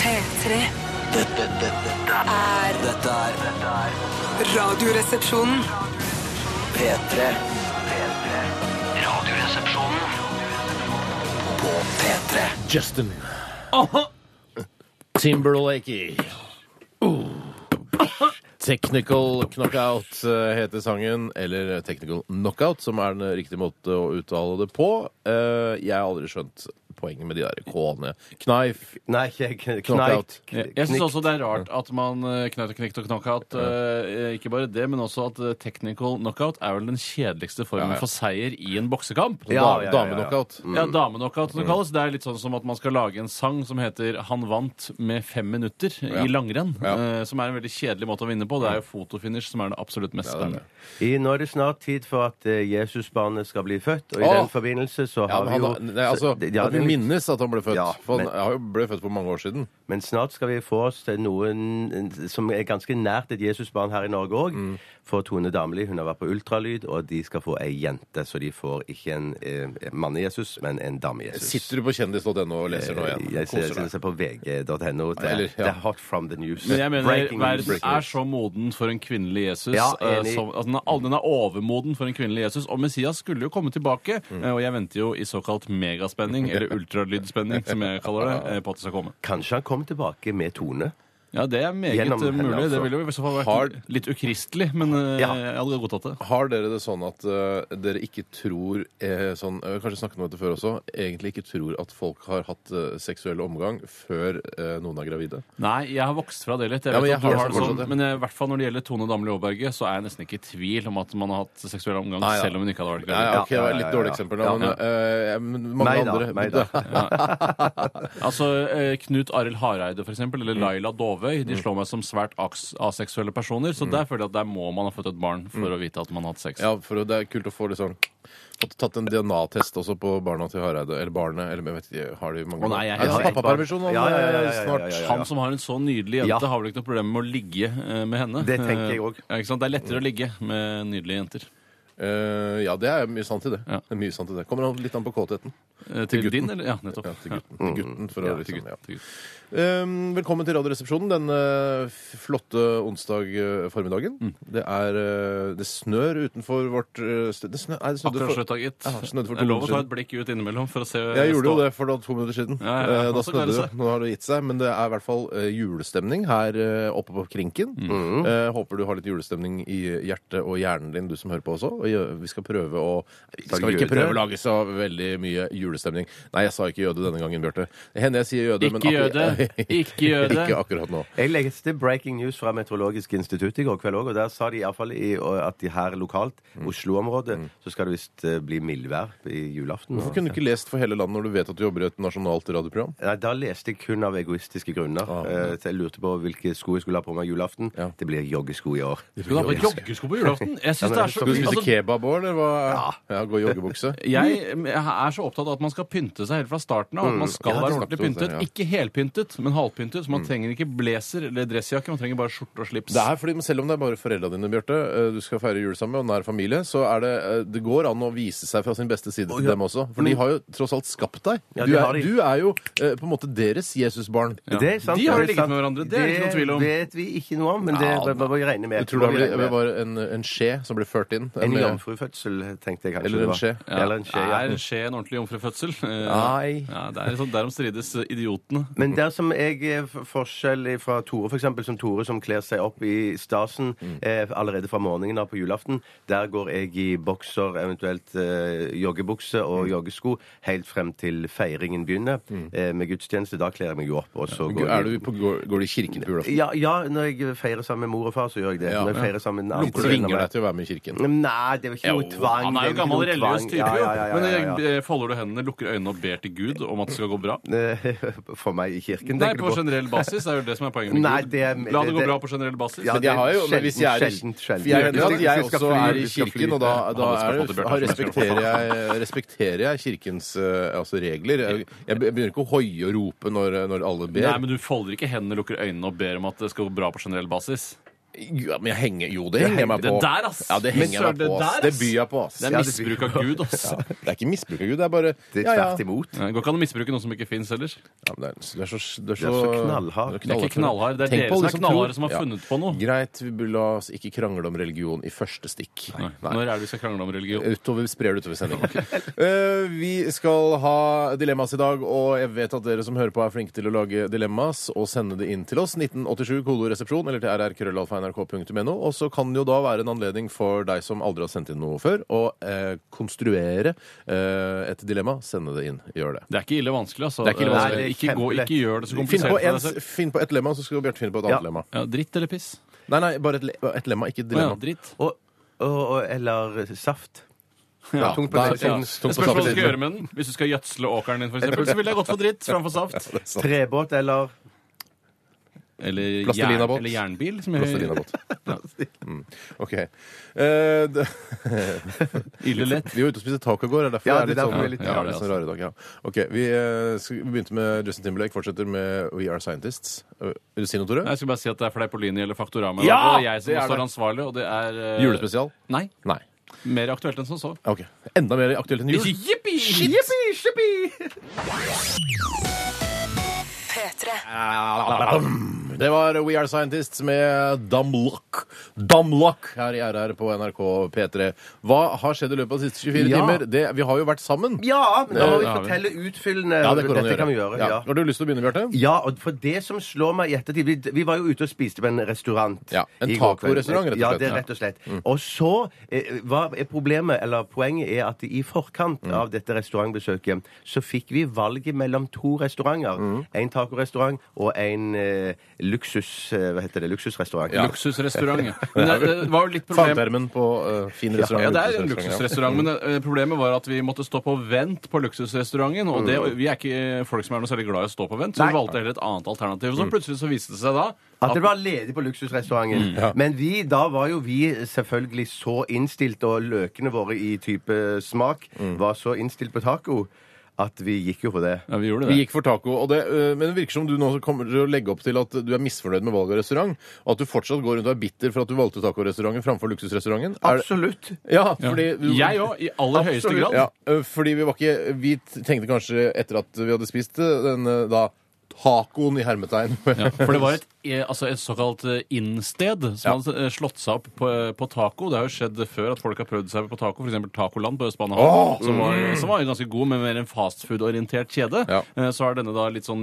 P3 Dette, dette, dette, er dette er dette er Radioresepsjonen. P3. P3. Radioresepsjonen på P3. Justin. Uh-huh. Timberlake. Technical Knockout eh, heter sangen, eller eh, Technical Knockout, som er den riktige måte å uttale det på. Eh, Jeg har aldri skjønt poenget med de der K-ene. Knife. Nei, ikke kn- Knockout. Kneit. Jeg jeg syns også det er rart at man eh, knaut og knekt og knockout. eh, Ikke bare det, men også at eh, technical knockout er vel den kjedeligste formen Ja, Mm. ja. for seier i en boksekamp. Da, Ja, ja, ja, ja. Damenokkout. Ja, Damenokkout, som det kalles. Det er litt sånn som at man skal lage en sang som heter 'Han vant med fem minutter' Ja. i langrenn. Ja. eh, Som er en veldig kjedelig måte å vinne på. Det er jo fotofinish som er det absolutt mest spennende. I- Nå er det snart tid for at eh, Jesusbarnet skal bli født, og i Åh! den forbindelse så Ja, har men vi han, jo nei, altså, så- ja, at vi det- minnes at han ble født. Ja, for han men- har jo- ble født for mange år siden. Men snart skal vi få oss til noen eh, som er ganske nært et Jesusbarn her i Norge òg. Mm. For Tone Damli hun har vært på ultralyd, og de skal få ei jente. Så de får ikke en eh, manne-Jesus, men en dame-Jesus. Eh, Sitter du på kjendis.no og leser nå igjen? Jeg ser, Koser jeg deg. ser på vg.no. Det, Eller, ja. det er hot from the news. Men jeg mener Breaking news. verden er så moden for en kvinnelig Jesus. Ja, eh, enig. som, altså, den, er, all- den er overmoden for en kvinnelig Jesus. Og Messias skulle jo komme tilbake. eh, Og jeg venter jo i såkalt megaspenning, eller ultralydspenning, som jeg kaller det, eh, på at det skal komme. Kanskje han kommer tilbake med Tone? Ja, det er meget Gjennom eh, henne, mulig. altså. Det ville jo i så fall vært Har- litt ukristelig, men eh, Ja. jeg hadde godtatt det. Har dere det sånn at eh, dere ikke tror eh, sånn, eh, Kanskje snakket om dette før også. Egentlig ikke tror at folk har hatt eh, seksuell omgang før eh, noen er gravide. Nei, jeg har vokst fra det litt. Jeg Ja, men vet jeg at du har har det det fortsatt, sånn, ja. men eh, i hvert fall når det gjelder Tone Damli Aaberge, så er jeg nesten ikke i tvil om at man har hatt seksuell omgang, Nei, ja. selv om hun ikke hadde vært Nei, gravid. ok, det var et litt Ja, ja, ja, ja. dårlig eksempel. Da, Ja. men, eh, men mange Meg da. andre Meg da. Altså, eh, Knut Arild Hareide for eksempel, eller Laila Dovøy de slår meg som svært aks- aseksuelle personer. Så der føler jeg at der må man ha født et barn for å vite at man har hatt sex. Ja, for det er kult å få liksom fått tatt en DNA-test også på barna til Hareide. Eller barnet. Eller jeg vet ikke, har de mange Å, nei, jeg- Er det jeg har sånn ett barn. Pappapermisjon nå, Ja, ja, ja, ja, ja, ja, snart. ja, ja. Han som har en så nydelig jente, Ja. har vel ikke noe problem med å ligge eh, med henne. Det tenker jeg Eh, også. ja, ikke sant? Det er lettere å ligge med nydelige jenter. Eh, ja, det er mye sant i det. Ja. Det er mye sant i det. Kommer an- litt an på kåtheten. Eh, til din, eller? Ja, nettopp. Ja, til gutten. Til gutten, for å Ja, til liksom, gutt, ja. til gutt. Ehm, velkommen til Radioresepsjonen denne f- flotte onsdag eh, formiddagen. Mm. Det er eh, Det snør utenfor vårt eh, sted. Det snø, nei, det snødde Akkurat for, slutta, gitt. Ja, snødde for Det er lov å ta to et blikk ut innimellom for å se jeg gjorde jo det for da to minutter siden. Ja, ja, ja. Eh, Da Så snødde klarer det det. seg. Nå har det gitt seg. Men det er i hvert fall eh, julestemning her eh, oppe på krinken. Mm. Eh, håper du har litt julestemning i hjertet og hjernen din, du som hører på også. Og gjø- vi skal prøve å Vi skal vel ikke jøde. prøve å lage så veldig mye julestemning. Nei, jeg sa ikke jøde denne gangen, Bjarte. Det hender jeg sier jøde, men Ikke jøde. Ikke jøde. ikke akkurat nå. Jeg leste breaking news fra Meteorologisk institutt i går kveld òg, og der sa de iallfall at de her lokalt, Mm. Oslo-området, så skal det visst eh, bli mildvær i julaften. Hvorfor kunne du ikke lest for hele landet når du vet at du jobber i et nasjonalt radioprogram? Nei, Da leste jeg kun av egoistiske grunner. Ah, Eh, så jeg lurte på hvilke sko jeg skulle ha på meg julaften. Ja. Det blir joggesko i år. Skal du ha på joggesko på julaften? Jeg Ja, men synes det det er så Skal du spise altså, kebab òg, eller hva? Ja, gå i joggebukse? jeg, Mm. jeg er så opptatt av at man skal pynte seg helt fra starten av. At man skal Ja, det være snakket ordentlig vi om det, pyntet. ja. Ikke helpyntet, men halvpyntet. Så Mm. man trenger ikke blazer eller dressjakke, man trenger bare skjorte og slips. Det er fordi, Selv om det er bare foreldra dine Bjørte, eh, du skal feire jul sammen med, og nær familie, så er det, eh, det går an å vise seg fra sin beste side til dem også. For de har jo tross alt skapt deg. Mm. Ja, Du de har er, de. du er jo eh, på en måte deres Jesusbarn. Ja. Det er sant. De har jo det er ligget sant. med hverandre, det er det ikke noe tvil om. Det vet vi ikke noe om, men det Ja, må- må vi regne med. Jeg tror Må det vi ble- regne det med. var en, en skje som ble ført inn. En med- jomfrufødsel, tenkte jeg kanskje. Eller det en var. skje. Ja. Eller en skje, ja. Er skje en ordentlig jomfrufødsel? Eh, Nei. Ja, det er sånn, Derom strides idiotene. Men der som jeg er f- forskjell fra Tore, for eksempel, som Tore som kler seg opp i stasen Mm. eh, allerede fra morgenen av på julaften, der går jeg i bokser, eventuelt eh, joggebukse Mm. og joggesko, helt frem til feiringen begynner eh, med gudstjeneste. Da kler jeg meg jo opp, og så går Er jeg- du på, går, går du i kirken på julaften? ja, ja, når jeg feirer sammen med mor og far, så gjør jeg det. Ja. Når jeg feirer sammen med den De andre tvinger venner- deg til å være med i kirken. Nei, det er jo ikke noe Jo, tvang. Han er jo det ikke gammel noe religiøs tvang. type, Ja, jo. ja, ja, ja, ja, ja. Men eh, folder du hendene, lukker øynene og ber til Gud om at det skal gå bra? For meg i kirken, Nei, tenker på du på? generell basis er jo det som er poenget med Nei, Gud. det er- La det det- gå det- bra på generell basis. Ja, Men jeg har jo, men Sjeldent, hvis jeg er, sjeldent, sjeldent. For jeg, er redd for at jeg Du skal også fly, er du i skal kirken, fly. og da, da Han skal er, få det, Bjørte, har han skal få det. respekterer, jeg, respekterer jeg kirkens eh, altså regler. Jeg, jeg begynner ikke å hoie og rope når, når alle ber. Nei, men du folder ikke hendene, lukker øynene og ber om at det skal gå bra på generell basis. Ja, men jeg henger Jo, det henger jeg meg det på. der, ass. Ja, det Men henger jeg meg søren, det på. ass. der, Det ass. byr jeg på, ass. Det er Ja, det- misbruk av Gud, Ja, altså. det er ikke misbruk av Gud, det er bare Det er ja, ja. tvert imot. Det går ikke an å misbruke noe som ikke fins ellers. Ja, men det er, du er så, du er så, så knallhard. du Det er ikke knallhard, det er Tenk dere på alle som er knallharde tror- som har funnet på noe. Greit, vi bør la oss ikke krangle om religion i første stikk. Nei. Når er det vi skal krangle om religion? Utover, sprer det utover sendingen. Eh, vi skal ha dilemmas i dag, og jeg vet at dere som hører på er flinke til å lage dilemmas og sende det inn til oss. 1987 kodoresepsjon eller til rrkrøllalfa.nrk.no. Og så kan det jo da være en anledning for deg som aldri har sendt inn noe før, å eh, konstruere eh, et dilemma. Sende det inn. Gjør det. Det er ikke ille vanskelig, altså. Det er ikke ille Eh, vanskelig. Nei, ikke, gå, ikke gjør det så Finn på, komplisert. en, for deg selv. finn på et lemma, så skal Bjarte finne på et annet Ja. lemma. Ja, dritt eller piss? Nei, nei, bare et, le et lemma, ikke et Å Ja, dilemma. dritt. Og, og, og, eller saft. Ja, tungt på da- ja, den siden. tungt på Det spørs hva du samme skal siden. gjøre med den. Hvis du skal gjødsle åkeren din, for eksempel, så ville jeg gått for dritt framfor saft. Trebåt eller Eller, jern, Plastelinabåt. eller jernbil, som Plastelina jeg godt. Mm. OK. Eh, det- Ille lett. vi var ute og spiste taco i går. er derfor Ja, jeg det er derfor vi er litt- ja, ja, litt det er altså- sånn rare i dag. Ja. OK, vi, eh, skal- vi begynte med Justin Timberlake, fortsetter med We Are Scientists. Eh, Vil du si noe, Tore? Nei, Jeg skal bare si at det er Fleipolini eller Faktorama. Ja! og jeg som Det er står det. ansvarlig, og det er eh, Julespesial? Nei. Nei. Mer aktuelt enn som så. OK. Enda mer aktuelt enn jul. Jippi! P3. Ah, Det var We Are Scientists med Damlock. Damlock her i RR på NRK P3. Hva har skjedd i løpet av de siste 24 Ja. timer? Det, vi har jo vært sammen. Ja, men da må vi det har vi. fortelle utfyllende. Ja, det går an å Dette kan vi gjøre. Ja. ja. Har du lyst til å begynne, Bjarte? Ja, og for det som slår meg i ettertid Vi, vi var jo ute og spiste på en restaurant. Ja, en i går kveld. tacorestaurant, rett og slett. Mm. Ja, det er rett og slett. Og så eh, hva er problemet, eller poenget er at i forkant Mm. av dette restaurantbesøket så fikk vi valget mellom to restauranter. Mm. En tacorestaurant og en eh, luksus... Eh, hva heter det? Luksusrestaurant. Ja. Luksusrestaurant. ja. Men det, det var jo litt problem Fanttermen på eh, fin restaurant. Ja, det er en luksusrestaurant, ja. luksusrestaurant, men eh, problemet var at vi måtte stå på vent på luksusrestauranten. Og det, Mm. vi er ikke eh, folk som er noe særlig glad i å stå på vent, så vi Nei. valgte heller et annet alternativ. Mm. Så plutselig så viste det seg da At det var ledig på luksusrestauranten. Mm. Men vi, da var jo vi selvfølgelig så innstilt, og løkene våre i type smak Mm. var så innstilt på taco, at vi gikk jo for det. ja, vi gjorde Vi det. gikk for taco, og det, øh, men det virker som du nå kommer til å legge opp til at du er misfornøyd med valget av restaurant, og at du fortsatt går rundt og er bitter for at du valgte tacorestauranten framfor luksusrestauranten. Er det- Absolutt. Ja, fordi Jeg òg, i aller høyeste Absolutt, grad. Ja, øh, fordi vi var ikke Vi tenkte kanskje etter at vi hadde spist øh, den øh, da tacoen i hermetegn. Ja, for det var et, eh, altså et såkalt eh, innsted som Ja. hadde eh, slått seg opp på, eh, på taco. Det har jo skjedd før at folk har prøvd seg på taco, f.eks. Tacoland på Åh! Østbanehallen, Mm. som, var- som var jo ganske god, men mer en fastfood-orientert kjede. Ja. Eh, Så har denne da litt sånn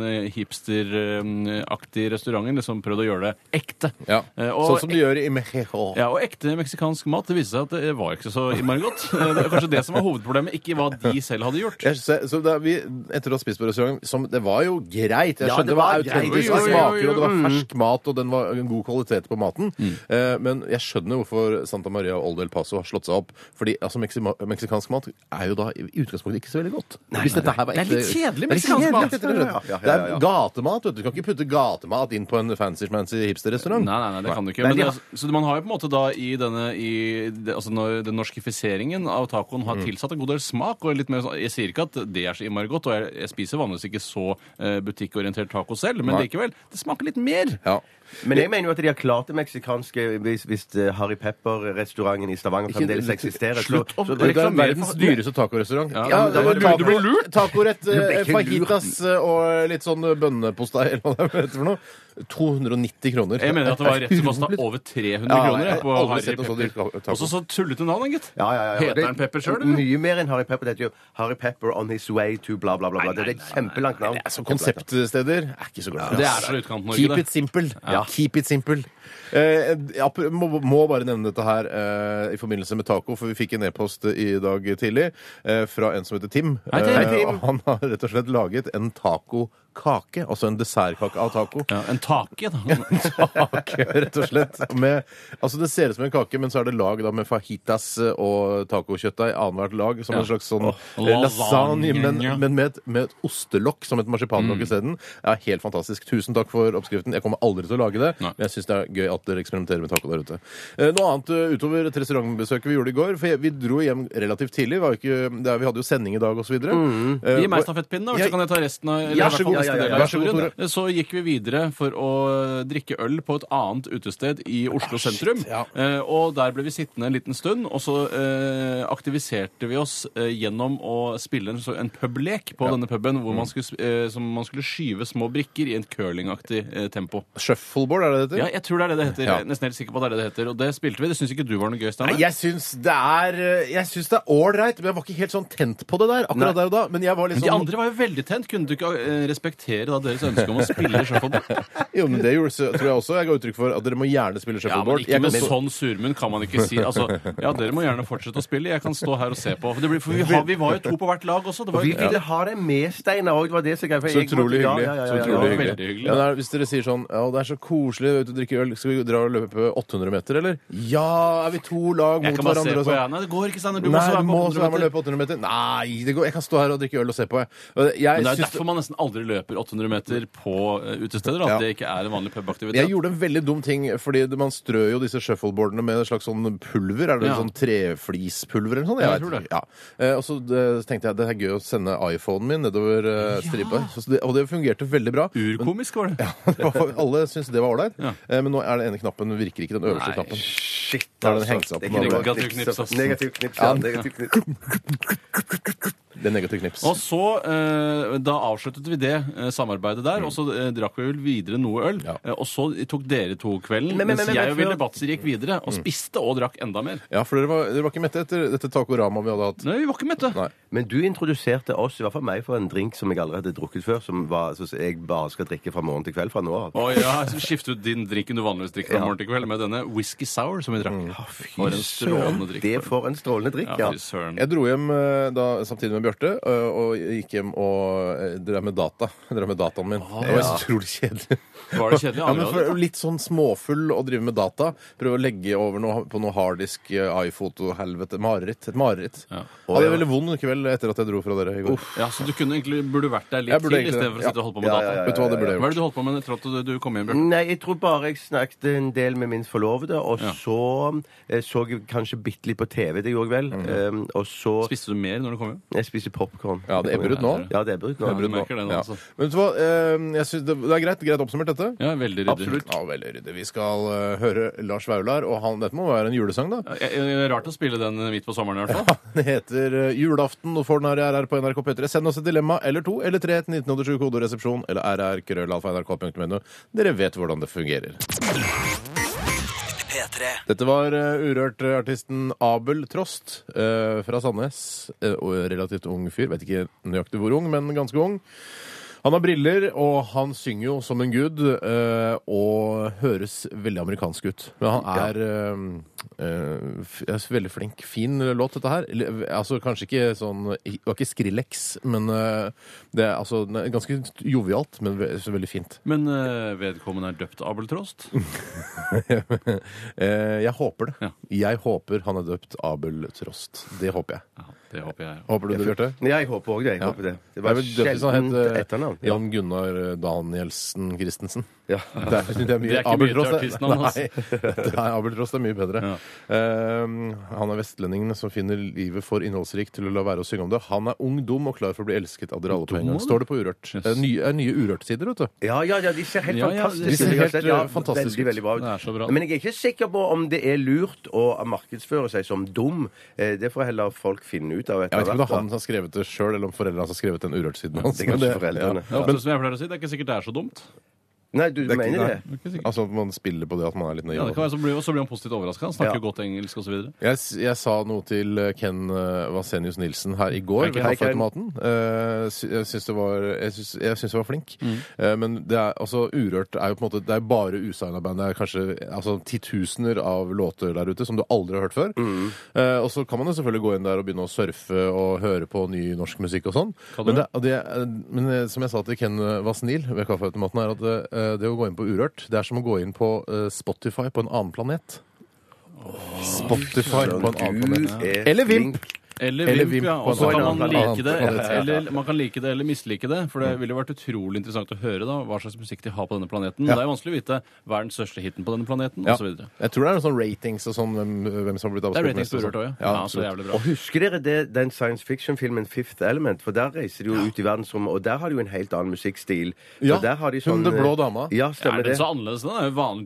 hipsteraktig restauranten liksom prøvd å gjøre det ekte. Ja. Eh, Sånn som de gjør i Mexico. ja, og ekte meksikansk mat. Det viste seg at det var ikke så innmari godt. Eh, Det var kanskje det som var hovedproblemet, ikke hva de selv hadde gjort. Jeg, så så da vi, etter å ha spist på restaurant som, Det var jo greit. Jeg Ja, skjønner det det var var greit. autentiske Jo, jo, jo, smaker, jo. Mm. og det var fersk mat, og den var en god kvalitet på maten. Eh, men jeg skjønner hvorfor Santa Maria og Old El Paso har slått seg opp. Fordi altså, meksima, meksikansk mat er jo da i utgangspunktet ikke så veldig godt. Hvis dette her var Det er ekte- litt Det kjedelig er litt meksikansk kjedelig, mat. rett og slett. Ja, ja, ja, Det ja, er ja. gatemat, vet du. Du kan ikke putte gatemat inn på en fancy-schmancy hipster-restaurant. Nei, nei, nei, det kan du ikke. Nei, Men de det, har- så man har jo på en måte da i denne i, det, altså når Den norskifiseringen av tacoen Mm. har tilsatt en god del smak. og litt mer sånn, Jeg sier ikke at det er så innmari godt, og jeg, jeg spiser vanligvis ikke så eh, butikkorientert taco selv, men Nei. likevel, det smaker litt mer. Ja. Men jeg mener jo at de har klart det meksikanske hvis, hvis eh, Harry Pepper-restauranten i Stavanger fremdeles eksisterer. så- Slutt opp. så- liksom- Det er reklamer verdens for- dyreste tacorestaurant. liksom Ja, men det var- taco- du ble lurt. Tacorett, ble eh, ikke lurt. fajitas eh, og litt sånn bønnepostei eller hva det er for noe. 290 kroner. Jeg mener at det var rett som kosta over 300 Ja, kroner jeg jeg, har på aldri Harry sett noe så dyrt Pepper. taco. Også så tullete navn, gitt. Ja, ja, ja, ja. Heter Det- han Pepper sjøl, eller? Mye mer enn Harry Pepper. Det heter jo Harry Pepper on his way to bla, bla, bla. bla. det er et kjempelangt navn. Altså, konseptsteder er ikke så glad i, Det ass. er så Utkant-Norge, Keep det. it simple. Keep it simple. Eh, ap- må, må bare nevne dette her eh, i forbindelse med taco, for vi fikk en e-post i dag tidlig eh, fra en som heter Tim. Hei, Tim. Eh, Hei, Tim. og han har rett og slett laget en tacokake, altså en dessertkake av taco. Ja, en take, da. kake, rett og slett. Med, altså Det ser ut som en kake, men så er det lag da med fajitas eh, og tacokjøttdeig annethvert lag, som Ja. en slags sånn Åh, eh, lasagne, lasagne. Mm. men, men med, et, med et ostelokk som et marsipanlokk isteden. Ja, helt fantastisk. Tusen takk for oppskriften. Jeg kommer aldri til å lage det, Nei. men jeg syns det er gøy at dere eksperimenterer med taco der ute. Eh, Noe annet eh, utover et restaurantbesøk vi gjorde i går, for jeg- vi dro hjem relativt tidlig. Var jo ikke, det er, vi hadde jo sending i dag osv. Eh, Gi Mm. meg stafettpinnen, da, vel, Ja. så kan jeg ta resten av eller Ja, i hvert så fall god, neste ja, ja, del ja. av Vær så god, historien. Så gikk vi videre for å eh, drikke øl på et annet utested i Oslo sentrum. ja. Eh, Og der ble vi sittende en liten stund, og så eh, aktiviserte vi oss eh, gjennom å spille en, så- en publek på denne puben hvor man Mm. skulle, s- eh, som man skulle skyve små brikker i en curlingaktig eh, tempo. Shuffleboard, er det det heter? Ja, jeg tror det er det det heter. Ja. Jeg er nesten helt sikker på at det er det det heter. Og det spilte vi. Det syns ikke du var noe gøy, Nei, Steinar? jeg syns det er eh, Jeg syns det er ålreit, men jeg var ikke helt sånn tent på det der akkurat der og da. Men jeg var litt De sånn andre var jo veldig tent. Kunne du ikke eh, respektere da deres ønske om å spille shuffleboard? Jo, men det gjorde, så, tror jeg også jeg ga uttrykk for at dere må gjerne spille Ja, men shuffleboard. ikke Jeg med kan så- sånn surmunn kan man ikke si. Altså, ja, dere må gjerne fortsette å spille. Jeg kan stå her og se på. For, det blir, for vi, har, vi var jo to på hvert lag også. Det var Vi jo ville ha deg med, Steinar òg. Det var det som greia. så utrolig hyggelig. Så utrolig ja, hyggelig. veldig hyggelig. Ja, det er- hvis dere sier sånn Ja, det er så koselig, vet du, drikke øl. Skal vi dra og løpe 800 meter, eller? Ja, er vi to lag mot Jeg kan bare hverandre se og på, sånn? ja. Nei, det går ikke, Steinar. Nei, Du må også du være må med også på være med 800 og meter. løpe 800 meter. Nei, det går, jeg kan stå her og drikke øl og se på, jeg. Og jeg Men det er syns- derfor man nesten aldri løper 800 meter på eh, utesteder. At Ja. det ikke er en vanlig pubaktivitet. Jeg gjorde en veldig dum ting, fordi det- man strør jo disse shuffleboardene med et slags sånn pulver. Er det Ja. sånn treflispulver eller noe sånt? Ja, jeg vet tror det. ikke. Ja. Eh, Og så eh, tenkte jeg det er gøy å sende iPhonen min nedover eh, stripa. Så det- Og det fungerte veldig bra. Urkomisk var det. Men det var- alle syntes det var ålreit, Ja. Eh, men nå er det ene knappen virker ikke, den øverste Nei. knappen. Shit, Da har den hengt seg opp Det er med ikke alle. negativ knips, ass. Negativ knips, ja. Negativ knips. Det er negativ knips. Og så, eh, Da avsluttet vi det eh, samarbeidet der, og så eh, drakk vi vel videre noe øl. Ja. Eh, og så tok dere to kvelden, Men- men- mens men- men- jeg og Ville Batzer gikk videre og Mm. spiste og drakk enda mer. Ja, for dere var, dere var ikke mette etter dette tacorama vi hadde hatt. Nei, vi var ikke mette. Nei. Men du introduserte oss, i hvert fall meg, for en drink som jeg allerede hadde drukket før, som var, så jeg bare skal drikke fra morgen til kveld fra nå av. Å ja, så Skift ut din drinken du vanligvis drikker fra Ja. Mm. morgen til kveld, med denne whisky sour som vi drakk. Ja, fy en strålende drikk. Det for en strålende drikk, Ja, ja. fy søren. Jeg dro hjem eh, da, samtidig med Bjarte eh, og gikk hjem og eh, drev med data. Jeg drev med dataen min. det var utrolig kjedelig. Ah, Var det kjedelig? Ja, men Aldri for, litt sånn småfull å drive med data. Prøve å legge over noe, på noe harddisk, eh, iPhoto-helvete. Mareritt. Et mareritt. Ja. Hadde en veldig vond kveld etter at jeg dro fra dere i går. Ja, Så du kunne egentlig, burde vært der Jeg litt burde til egentlig det. istedenfor å Ja. sitte og holde på med Ja, data? ja, ja, Vet du hva det burde jeg Hva gjort? er det du holdt på med etter at du- du kom hjem, Bjørn? Nei, jeg tror bare jeg snakket en del med min forlovede, og så eh, så jeg kanskje bitte litt på TV, det gjorde jeg vel. Eh, og så Spiste du mer når du kom hjem? Jeg spiser popkorn. Ja, det ebber ut nå. Ja, det ebber ut Ja, nå. du merker det nå, Ja. altså. Men vet du hva, eh, jeg synes det, det er greit, greit oppsummert, dette. Ja, veldig ryddig. Ja, veldig ryddig. Vi skal eh, høre Lars Vaular, og han, dette må være en julesang, da. Ja, jeg- jeg- Rart å spille den midt på sommeren i hvert fall. Den heter eh, Julaften og får den her i RR på NRK P3. Send oss et dilemma eller to eller tre til 1987 koderesepsjon eller rr-krøllalfa-nrk.no. Dere vet hvordan det fungerer. P3. Dette var eh, Urørt-artisten Abel Trost eh, fra Sandnes. eh, og relativt ung fyr. Vet ikke nøyaktig hvor ung, men ganske ung. Han har briller, og han synger jo som en gud, eh, og høres veldig amerikansk ut. Men han er eh, eh, f- er veldig flink. Fin låt, dette her. Eller, Altså, kanskje ikke sånn Det var ikke Skrillex, men eh, det er altså den er ganske jovialt, men ve så veldig fint. Men eh, vedkommende er døpt Abel Trost. Mm. Eh, jeg håper det. Ja. Jeg håper han er døpt Abel Trost. Det håper jeg. Ja, det håper jeg. Håper du det, Bjarte? Ja, jeg håper òg det. jeg håper det. Det Jeg var vil døpe hvis han sjelden het, eh, etternavn. Ja. Jan Gunnar eh, Danielsen Christensen. Ja. Det er, det er, mye. altså. Det er ikke Abel mye til Trost er- artistnavn, Nei, nei, Abel Trost er mye bedre. Um, han er vestlendingen som finner livet for innholdsrikt til å la være å synge om det. Han er ung, dum og klar for å bli elsket av dere alle på en gang. Står det på Urørt. Det er nye, er nye Urørt-sider, vet du. ja, ja, ja, de ser helt Ja, ja, fantastiske ut. Jeg har de ser helt, sett, ja, eh, fantastisk ut. veldig, veldig bra ut. Det er så bra. Men jeg er ikke sikker på om det er lurt å markedsføre seg som dum. Eh, Det får heller folk finne ut av Jeg vet etter ikke om det er han hvert. da. som har skrevet det sjøl, eller om foreldrene hans har skrevet den Urørt-siden hans. Det er Men kanskje foreldrene. Det er ofte som jeg pleier å si, det er ikke sikkert det er så dumt. Nei, du er ikke- mener det? nei. Altså at man spiller på det at man er litt nøye. Ja, det kan være, så, blir, så blir han positivt overraska. Han snakker Ja. jo godt engelsk osv. Jeg, s- jeg sa noe til eh, Ken eh, Vasenius Nilsen her i Hei, går Ken. ved kaffeautomaten. Eh, sy- Jeg syns det var Jeg syns, jeg syns det var flink. Mm. Eh, Men det er, altså, Urørt er jo på en måte Det er bare usigna band. Det er kanskje altså, titusener av låter der ute som du aldri har hørt før. Mm. Eh, Og så kan man jo selvfølgelig gå inn der og begynne å surfe og høre på ny norsk musikk og sånn. Kan du Men, det, og det, eh, men eh, som jeg sa til Ken Vasenil ved kaffeautomaten, er at eh, det å gå inn på Urørt, det er som å gå inn på eh, Spotify på en annen planet. Spotify på en annen planet. Du er Eller flink. Vimp. Eller Eller Vimp, Vimp ja. på Og så en kan annen man planet. like det, Annen planet, ja. eller man kan like det eller mislike det. For Mm. det ville vært utrolig interessant å høre da, hva slags musikk de har på denne planeten. Ja. Det er jo vanskelig å vite hva er den største hiten på denne planeten, Ja. og så videre. Jeg tror det er noen sånn ratings og sånn hvem, hvem som har blitt Det avspilt er ratings mest. på og sånn. Urørt òg, ja. Ja, ja så absolutt. jævlig Og bra. Husker dere det, den science fiction-filmen Fifth Element? For der reiser de jo ut i verdensrommet, og der har de jo en helt annen musikkstil. Og Ja, der har de hun sånn, den blå dama. Ja, Ja, stemmer er den det. så annerledes? Den er jo vanlig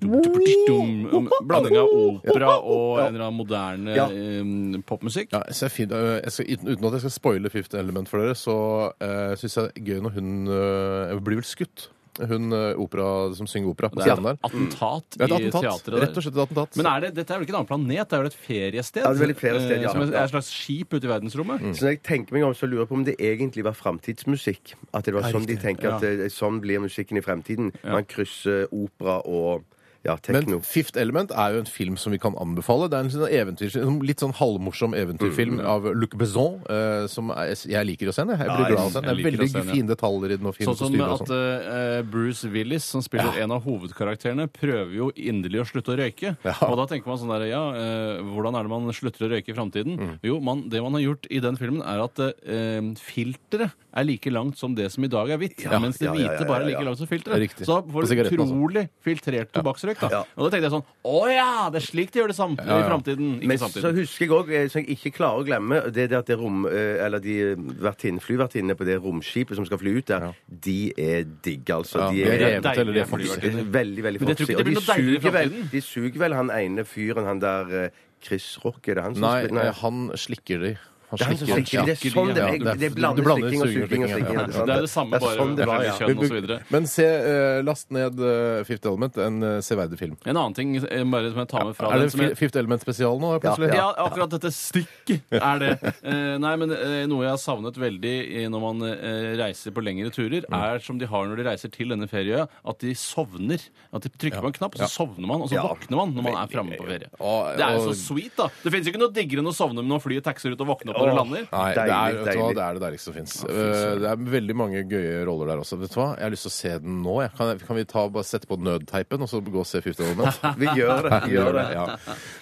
dum, blanding av opera og en eller annen moderne Ja. eh, popmusikk. Ja, så jeg fin- øh, jeg skal, uten uten at jeg skal spoile Fifth Element for dere, så uh, syns jeg det er gøy når hun øh, blir vel skutt. Hun øh, opera, som synger opera på Det er scenen der. et attentat Det er i et attentat. teatret der. Rett og slett et attentat. Men er det, dette er vel ikke en annen planet, det er vel et feriested? Ja, det er vel et feriested, eh, ja. Som er et slags skip ute i verdensrommet? Mm. Så når jeg tenker meg om, så lurer jeg på om det egentlig var framtidsmusikk. At det var sånn de tenker at eh, sånn blir musikken i fremtiden. Man krysser opera og ja, Men tekno. Fifth Element er jo en film som vi kan anbefale. Det er en sånn eventyr, en litt sånn halvmorsom eventyrfilm Mm. av Luc Besson, eh, som er, jeg liker å se. den, Jeg Ja, blir jeg- glad av å se den. Det jeg er liker å veldig se den, ja. fine detaljer i den og fine Sånn som kostymer og at sånn. eh, Bruce Willis, som spiller en av hovedkarakterene, prøver jo inderlig å slutte å røyke. Ja. Og da tenker man sånn der, ja, eh, hvordan er det man slutter å røyke i framtiden? Mm. Jo, man, det man har gjort i den filmen, er at eh, filteret er like langt som det som i dag er hvitt. mens det ja, ja, hvite ja, ja, bare er ja. like langt som Det er filteret. riktig. Så da På får du sigaretten, altså. utrolig filtrert tobakksrøyk. da. Ja. Og da tenkte jeg sånn Å ja! Det er slik de gjør det sam Ja, ja. i framtiden. Ikke Men så samtidig. husker jeg òg, som jeg ikke klarer å glemme, det er det at det rom... eh, Eller de vertinne- flyvertinnene på det romskipet som skal fly ut der, de er digg, Ja, altså. De de er er revet, revet, deilige eller de er flyvertinner. foxy. Eh, Veldig, veldig Men jeg tror foxy. ikke Og det de blir noe deiligere i suger, vel, fremtiden. de suger vel han ene fyren, han der eh, Chris Rock, er det han som Nei, spiller? eh, han slikker de. Han Det er han som slikker, ja. det er sånn det Ja, er. det er- Det er du blander blander slikking og suging og suging og slikking, slikking. ja. er sant Det er det samme, bare sånn det med var, ja. kjønn og så videre. Men se, eh, last ned eh, Fifth Element, en eh, severdig film. En annen ting eh, bare som jeg tar med fra Er det den som jeg- Fi- Fifth Element-spesial nå, plutselig? Ja, akkurat dette stikket er det. Eh, nei, men eh, noe jeg har savnet veldig i når man eh, reiser på lengre turer, er som de har når de reiser til denne ferieøya, at de sovner. At de trykker på en knapp, og så sovner man, og så Ja. våkner man når man er framme på ferie. Og- Det er jo og- så sweet, da. Det fins ikke noe diggere enn å sovne når flyet taxier ut og våkne opp når det lander. Nei, det, er, Deilig, vet du hva, deilig. det er det deiligste som fins. det er veldig mange gøye roller der også. Vet du hva? Jeg har lyst til å se den nå. Jeg. Kan, kan vi ta, bare sette på nødteipen og så gå og se Fifty Element? Vi gjør det. Vi gjør det. Ja.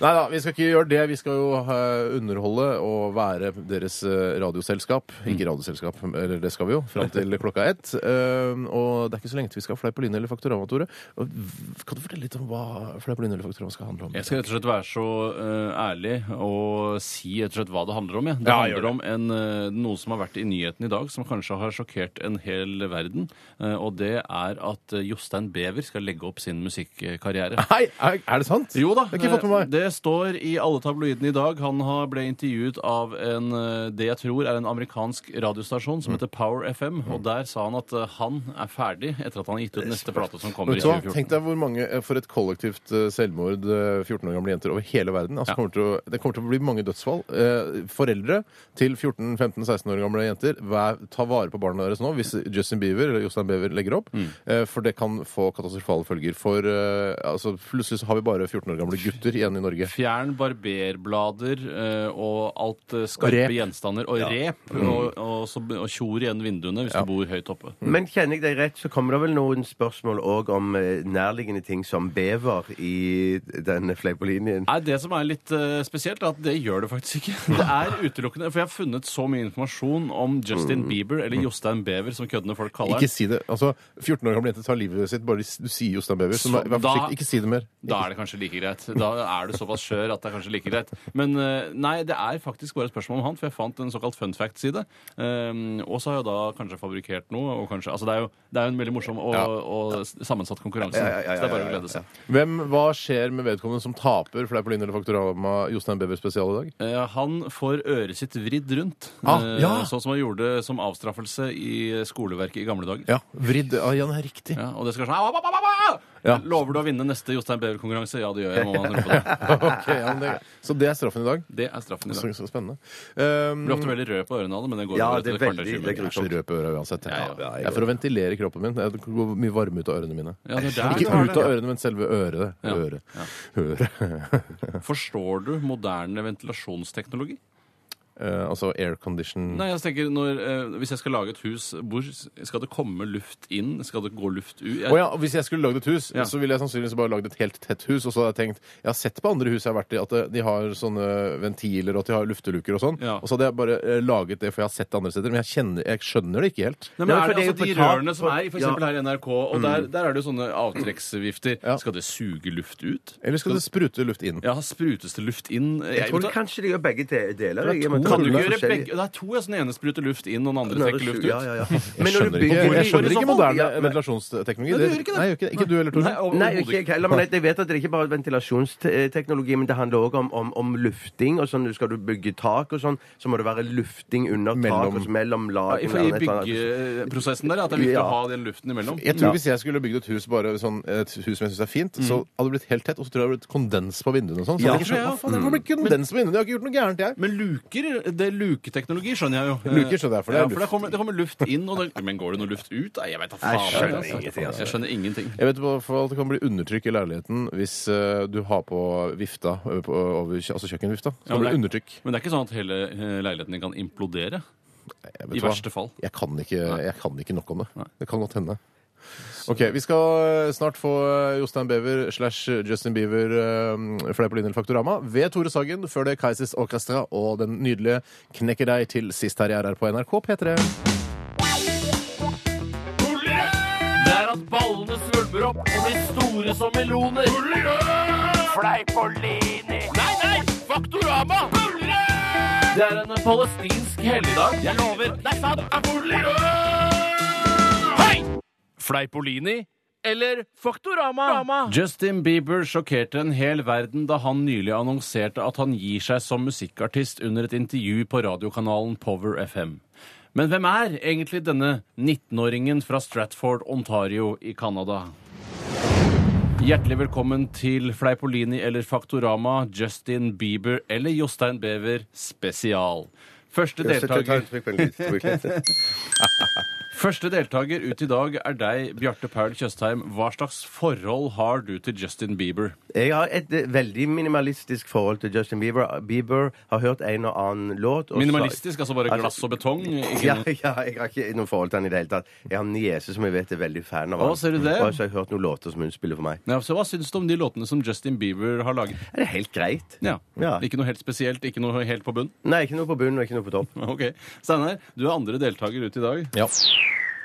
Nei da, vi skal ikke gjøre det. Vi skal jo eh, underholde og være deres eh, radioselskap. Mm. Ikke radioselskap, eller det skal vi jo, fram til klokka ett. Eh, og det er ikke så lenge til vi skal ha Fleipolini eller Faktorama, Tore. Og v- Kan du fortelle litt om hva Fleipolini eller Faktorama skal handle om? Jeg skal rett og slett være så eh, ærlig og si rett og slett hva det handler om. Jeg. Det Ja, gjør handler om en, eh, noe som har vært i nyheten i dag, som kanskje har sjokkert en hel verden. eh, og det er at eh, Jostein Bever skal legge opp sin musikkarriere. Nei, er, er det sant? Jo da, Det har jeg ikke fått med meg. det står i alle tabloidene i dag. Han har ble intervjuet av en, eh, det jeg tror er en amerikansk radiostasjon som heter Power FM. Og der sa han at eh, han er ferdig etter at han har gitt ut neste plate som kommer i Vet du hva? Tenk 2014. deg hvor mange eh, for et kollektivt eh, selvmord eh, 14 år gamle jenter over hele verden. Altså, Ja. kommer til å, det kommer til å bli mange dødsfall. Eh, foreldre til 14-15-16 år gamle jenter, vær, ta vare på barna deres nå hvis Justin Bieber eller Jostein Bever legger opp. Mm. Eh, for det kan få katastrofale følger. For eh, altså, plutselig så har vi bare 14 år gamle gutter igjen i Norge. Fjern barberblader eh, og alt eh, skarpe Rep. gjenstander og rep, og, og, så- og tjor igjen vinduene hvis du bor høyt oppe. Men kjenner jeg deg rett, så kommer det vel noen spørsmål òg om eh, nærliggende ting som bever i den fleipolinjen. Nei, Det som er litt eh, spesielt, er at det gjør det faktisk ikke. Det er utelukkende, For jeg har funnet så mye informasjon om Justin Bieber, eller Jostein Bever, som køddende folk kaller Ikke han. si det. Altså, 14 år gamle jenter tar livet sitt bare hvis du sier Jostein Bever. Så, Så vær da- forsiktig. Ikke si det mer. Da er det kanskje like greit. Da er du såpass skjør at det er kanskje like greit. Men eh, nei, det er faktisk bare et spørsmål om han, for jeg fant en såkalt fun fact-side. Um, og så har jeg da kanskje fabrikkert noe, og kanskje Altså, det er jo, det er jo en veldig morsom og, og s- sammensatt konkurranse. Ja, ja, ja, ja, så det er bare ja, å ja, glede seg. Hvem, hva skjer med vedkommende som taper Fleipolini eller Faktorama Jostein Bever spesial i dag? Eh, han får øret sitt vridd rundt, Ah, eh, ja. sånn som han gjorde som avstraffelse i skoleverket i gamle dager. Ja, vridd. Ah, Ja, ja, det er riktig. Ja, og det skal sånn «Au, au, au, au, au!» Ja. Lover du å vinne neste Jostein Bever-konkurranse? Ja, det gjør jeg. Må man tro på det. Ok, ja, men det, så det er straffen i dag. det er straffen i Så, dag. så spennende. Um, Blir ofte veldig rød på ørene av det, men det går Ja, over det er etter et veldig- det kvarter. 20 er minutter. jeg er så rød på øra uansett. Ja, ja, jeg. Det er for å ventilere kroppen min. Det går mye varme ut av ørene mine. Ja, det er der Ikke det er ut av det. ørene, men selve øret. Ja. Øret. Øret. Forstår du moderne ventilasjonsteknologi? Eh, altså aircondition Nei, jeg tenker når, eh, Hvis jeg skal lage et hus, hvor skal det komme luft inn? Skal det gå luft ut? Jeg, Å ja, og Hvis jeg skulle lagd et hus, Ja. så ville jeg sannsynligvis bare lagd et helt tett hus. Og så hadde jeg tenkt Jeg har sett på andre hus jeg har vært i, at eh, de har sånne ventiler og at de har lufteluker og sånn. Ja. Og så hadde jeg bare eh, laget det, for jeg har sett det andre steder. Men jeg, kjenner, jeg skjønner det ikke helt. Nei, men Ja, er for det det, er altså jo De på tak- rørene som er for Ja. Mm. eksempel her i NRK, og der, der er det jo sånne avtrekksvifter. Ja. Skal det suge luft ut? Eller skal det sprute luft inn? Ja, sprutes det luft inn? eh, Jeg, Jeg tror kan, kanskje de gjør begge de- deler. jeg, men- kan du ikke Det er gjøre forskjellig. begge? Det er to. Ja, sånn den ene spruter luft inn, og den andre trekker luft ut. Ja, ja, ja. Jeg Men skjønner når du ikke, bygger- jeg skjønner i så ikke fall? moderne Ja, men- ventilasjonsteknologi. Nei, du gjør ikke det. Nei, jeg gjør ikke, det. ikke du heller, Tore. Nei, Nei, overhodet ikke jeg heller, men jeg, jeg vet at det ikke bare er ventilasjonsteknologi, men det handler også om, om, om lufting. og sånn, Skal du bygge tak og sånn, så må det være lufting under Mellom- tak og så mellom Ja, lag. sånn I for i byggeprosessen der, at det er viktig Ja. å ha den luften imellom. Jeg tror Hvis jeg skulle bygd et hus bare sånn, et hus som jeg syns er fint, så hadde det blitt helt tett, og så tror jeg det hadde blitt kondens på vinduene. og sånn. Så Ja, hadde jeg ikke skjønt, ja, hva faen, det kan bli kondens på vinduene, jeg har ikke gjort noe gærent, jeg. Men luker, det er luketeknologi, skjønner jeg jo. Luker skjønner jeg, for det er ja, for luft. det kommer, det kommer luft inn, og det, men går det noe luft ut? Nei, jeg vet da faen. Jeg skjønner altså. ingenting, altså. Jeg skjønner ingenting. Jeg vet i hvert fall at det kan bli undertrykk i leiligheten hvis eh, du har på vifta, ø, på, over, kjø- altså kjøkkenvifta. Så Ja, kan det blir men det- undertrykk. Men det er ikke sånn at hele eh, leiligheten din kan implodere? Jeg I vet hva, verste fall. Jeg kan ikke, jeg kan ikke nok om det. Nei. Det kan godt hende. Ok, Vi skal eh, snart få Jostein Bever slash Justin Bieber eh, fleip og linje eller Faktorama ved Tore Sagen, før det Kaizers Orkestra og den nydelige Knekker deg til sist her i RR på NRK P3. Det er at ballene svulmer opp og blir store som meloner. Fleipolini. Nei, nei! Faktorama! Det er en palestinsk helligdag. Jeg lover. Det er sant. Hei! Fleipolini eller Faktorama? Justin Bieber sjokkerte en hel verden da han nylig annonserte at han gir seg som musikkartist under et intervju på radiokanalen Power FM. Men hvem er egentlig denne 19-åringen fra Stratford, Ontario i Canada? Hjertelig velkommen til Fleipolini eller Faktorama, Justin Bieber eller Jostein Bever spesial. Første deltaker Første deltaker ut i dag er deg, Bjarte Paul Tjøstheim. Hva slags forhold har du til Justin Bieber? Jeg har et eh, veldig minimalistisk forhold til Justin Bieber. Bieber har hørt en og annen låt. og så- Minimalistisk, altså bare glass og betong? Ikke Ja, noe- ja, jeg har ikke noe forhold til han i det hele tatt. Jeg har en niese som jeg vet er veldig fan av Å, han. ser du det? Og så har jeg hørt noen låter som hun spiller for meg. Ja, så Hva syns du om de låtene som Justin Bieber har laget? Er det helt greit? Ja. Ja. Ikke noe helt spesielt, ikke noe helt på bunn? Nei, ikke noe på bunnen og ikke noe på topp. Ok. Steinar, du er andre deltaker ut i dag. Ja.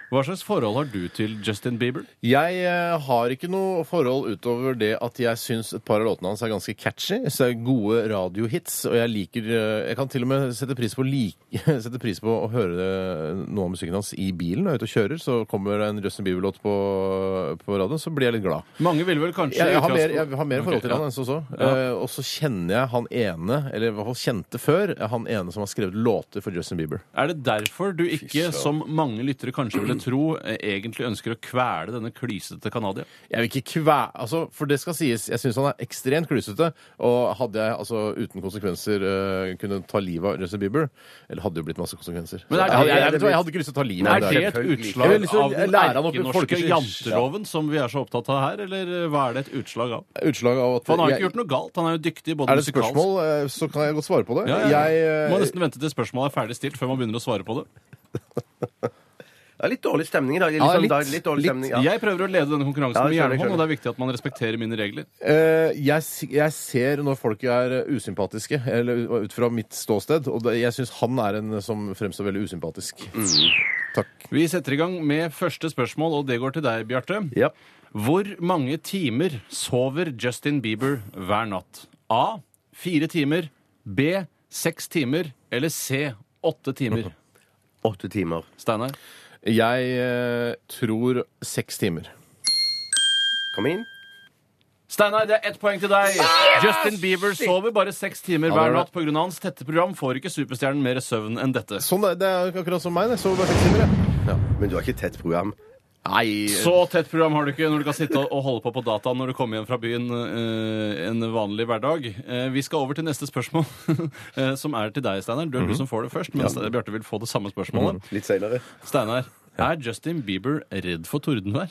Hva slags forhold har du til Justin Bieber? Jeg eh, har ikke noe forhold utover det at jeg syns et par av låtene hans er ganske catchy. Så er det gode radiohits, og jeg liker eh, Jeg kan til og med sette pris på, like, sette pris på å høre eh, noe av musikken hans i bilen. Når jeg er ute og kjører, så kommer det en Justin Bieber-låt på, på radioen, så blir jeg litt glad. Mange ville vel kanskje Jeg, jeg, har, i mer, utgangspunktet- jeg har mer forhold Ok, til ja. han enn som så. Ja. Eh, og så kjenner jeg han ene, eller i hvert fall kjente før, han ene som har skrevet låter for Justin Bieber. Er det derfor du ikke, som mange lyttere kanskje ville tro, eh, egentlig ønsker å kvele denne klysete canadier? Jeg vil ikke kvæ... Altså, for det skal sies, jeg syns han er ekstremt klusete. Og hadde jeg altså uten konsekvenser eh, kunne ta livet av Justin Bieber Eller hadde jo blitt masse konsekvenser. Men er det- jeg, jeg, jeg, vet hva, jeg hadde ikke lyst til å ta livet Er av det det. et Selvfølgelig. utslag Jeg vil liksom av den lære han opp i erkenorske folkeskikk. janteloven som vi er så opptatt av her, eller eh, hva er det et utslag av? Utslag av at For han har jo jeg- ikke gjort noe galt. Han er jo dyktig både Er det et musikalsk- spørsmål, eh, så kan jeg godt svare på det. Ja, ja, ja. Jeg, eh, Må nesten vente til spørsmålet er ferdig stilt før man begynner å svare på det. Det er litt dårlig stemning i dag. Litt, Ja, sånn, litt. dag- litt dårlig Litt. stemning. Ja. Jeg prøver å lede denne konkurransen Ja, med skjønner, jernhånd, og skjønner. det er viktig at man respekterer mine regler. Eh, jeg, s- jeg ser når folk er eh, usympatiske, eller u- ut fra mitt ståsted, og det, jeg syns han er en som fremstår veldig usympatisk. Mm. Takk. Vi setter i gang med første spørsmål, og det går til deg, Bjarte. Ja. Hvor mange timer sover Justin Bieber hver natt? A. Fire timer. B. Seks timer. Eller C. Åtte timer. Åtte timer. Steinar? Jeg eh, tror seks timer. Kom inn. Steinar, det er ett poeng til deg. Justin Bieber sover bare seks timer det er hver det. natt pga. hans tette program. Får ikke superstjernen mer søvn enn dette. Sånn, det, det er akkurat som meg. Jeg sover bare seks timer. Jeg. Men du har ikke tett program. Nei, Så tett program har du ikke når du kan sitte og- og holde på på dataen når du kommer hjem fra byen eh, en vanlig hverdag. Eh, vi skal over til neste spørsmål, eh, som er til deg, Steinar. Du er du Mhm. som får det først, mens Bjarte vil få det samme spørsmålet. Litt seinere. Steinar, er Justin Bieber redd for tordenvær?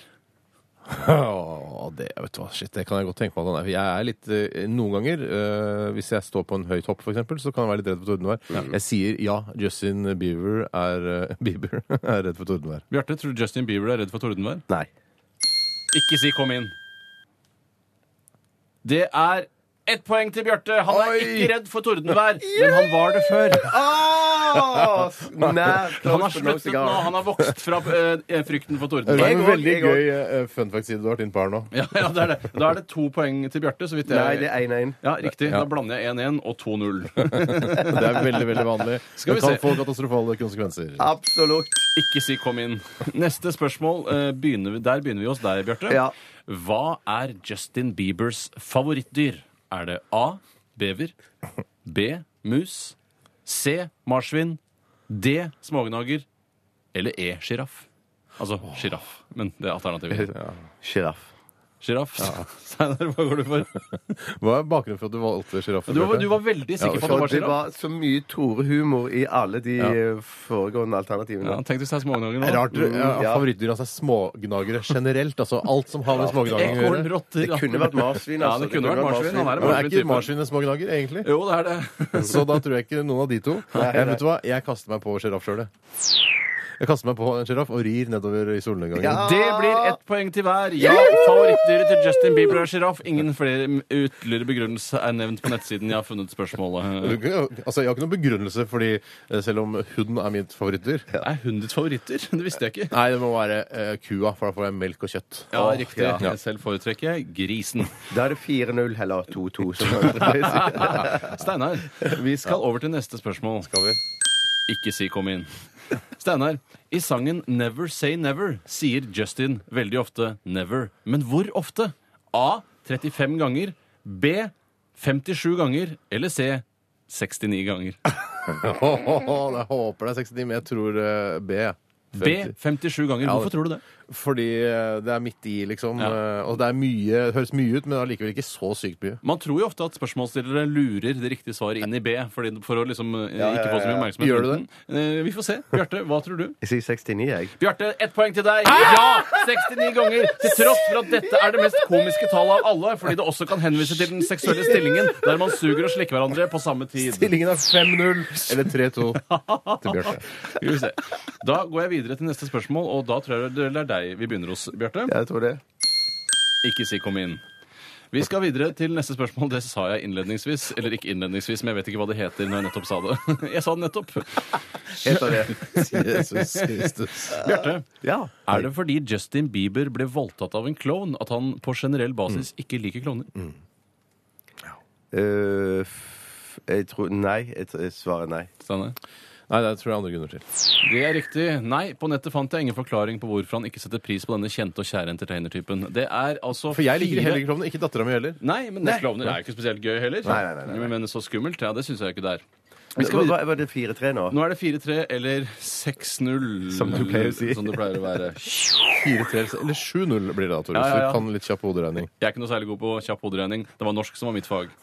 Åh, det, vet du hva, shit, det kan jeg godt tenke meg at han er. For Jeg er litt, eh, Noen ganger, eh, hvis jeg står på en høy topp, for eksempel, så kan jeg være litt redd for tordenvær. Jeg sier ja, Justin Bieber er, eh, Bieber er redd for tordenvær. Bjarte, tror du Justin Bieber er redd for tordenvær? Nei. Ikke si 'kom inn'. Det er ett poeng til Bjarte. Han er Oi! ikke redd for tordenvær, men han var det før. Oh, Han har sluttet nå. Han har vokst fra eh, frykten for Det tordenvær. var Jeg en går, veldig jeg går. gøy eh, fun fact-side du har vært inne på her nå. Ja, ja, det er det. Da er det to poeng til Bjarte. så vidt jeg... Nei, det er 1-1. Ja, riktig. Da blander jeg 1-1 og 2-0. Det er veldig veldig vanlig. Skal vi det kan se. få katastrofale konsekvenser. Absolutt. Ikke si 'kom inn'. Neste spørsmål. eh, Begynner vi, der begynner vi hos deg, Bjarte. Ja. Hva er Justin Biebers favorittdyr? Er det A. Bever. B. Mus. C. Marsvin. D. Smågnager. Eller E. Sjiraff. Altså sjiraff, men det er alternativet. Sjiraff. Sjiraff. Steinar, hva går du for? Hva er bakgrunnen for at du valgte sjiraffer? Du var, du var veldig sikker på at det var Det sjiraff. var så mye Tore-humor i alle de eh, foregående alternativene. Ja, tenk hvis det er smågnager nå. Rart. Ja, Mm, ja. Favorittdyra hans er smågnagere generelt. Altså alt som har med smågnaging å Ekorn, gjøre. rotter Det kunne vært marsvin. Ja, altså. det kunne vært marsvin. Han er Men er en ikke marsvintype. marsvin en smågnager, egentlig? Jo, det er det. Så da tror jeg ikke noen av de to. Jeg, vet du hva? jeg kaster meg på sjiraff sjøl, jeg. Jeg kaster meg på en sjiraff og rir nedover i solnedgangen. Ja. Det blir Ah. ett poeng til hver. Ja, favorittdyret til Justin Bieber er sjiraff. Ingen flere ytterligere begrunnelse er nevnt på nettsiden jeg har funnet Du spørsmålet. kan jo- Altså, jeg har ikke noen begrunnelse, fordi eh, selv om hund er mitt favorittdyr Er hun ditt favorittdyr? Det visste jeg ikke. Nei, det må være eh, kua, for da får jeg melk og kjøtt. Ja, riktig. ja. Jeg selv foretrekker jeg grisen. Da er det 4-0 eller 2-2. som andre pleier å si. Steinar, vi skal over til neste spørsmål. Skal vi? Ikke si 'kom inn'. Steinar, i sangen 'Never Say Never' sier Justin veldig ofte 'never'. Men hvor ofte? A. 35 ganger. B. 57 ganger. Eller C. 69 ganger. Åh, jeg håper det er 69, men jeg tror eh, B. jeg. B. 57 ganger. Hvorfor det- tror du det? Fordi eh, det er midt i, liksom. Ja. eh, Og det er mye, det høres mye ut, men allikevel ikke så sykt mye. Man tror jo ofte at spørsmålsstillere lurer det riktige svaret inn i B. Fordi, for å liksom eh, ikke få så mye oppmerksomhet. Gjør du rundt den. Eh, Vi får se. Bjarte, hva tror du? Jeg sier 69, jeg. Bjarte, ett poeng til deg. Ah! Ja! 69 ganger. Til tross for at dette er det mest komiske tallet av alle, fordi det også kan henvise til den seksuelle stillingen der man suger og slikker hverandre på samme tid. Stillingen er 5-0 eller 3-2 til Bjarte. Skal vi se. Da går jeg videre til neste spørsmål, og da tror jeg det er deg vi begynner hos, Bjarte. Jeg tror det. Ikke si 'kom inn'. Vi skal videre til neste spørsmål. Det sa jeg innledningsvis. Eller ikke innledningsvis, men jeg vet ikke hva det heter når jeg nettopp sa det. Jeg sa det nettopp. Heter det. Jesus Kristus. Bjarte, Ja. er det fordi Justin Bieber ble voldtatt av en klovn at han på generell basis Mm. ikke liker klovner? Øh, f- jeg tror Nei. Jeg tr- svaret er nei. Steinar? Nei, det tror jeg er andre grunner til. Det er riktig. Nei, på nettet fant jeg ingen forklaring på hvorfor han ikke setter pris på denne kjente og kjære entertainertypen. Det er altså For jeg liker fire- heller ikke klovner. Ikke dattera mi heller. Nei, men det klovner er jo ikke spesielt gøy heller. Nei, nei, nei, nei, nei. Men så skummelt? Ja, det syns jeg ikke det er. Vi Hva, skal videre. hva- var det 4-3 nå? Nå er det 4-3 eller 6-0. Som du pleier å si. Som det pleier å være. 4-3 eller 7-0 blir det da, Tore. Så Ja, ja, ja. du kan litt kjapp hoderegning. Jeg er ikke noe særlig god på kjapp hoderegning. Det var norsk som var mitt fag.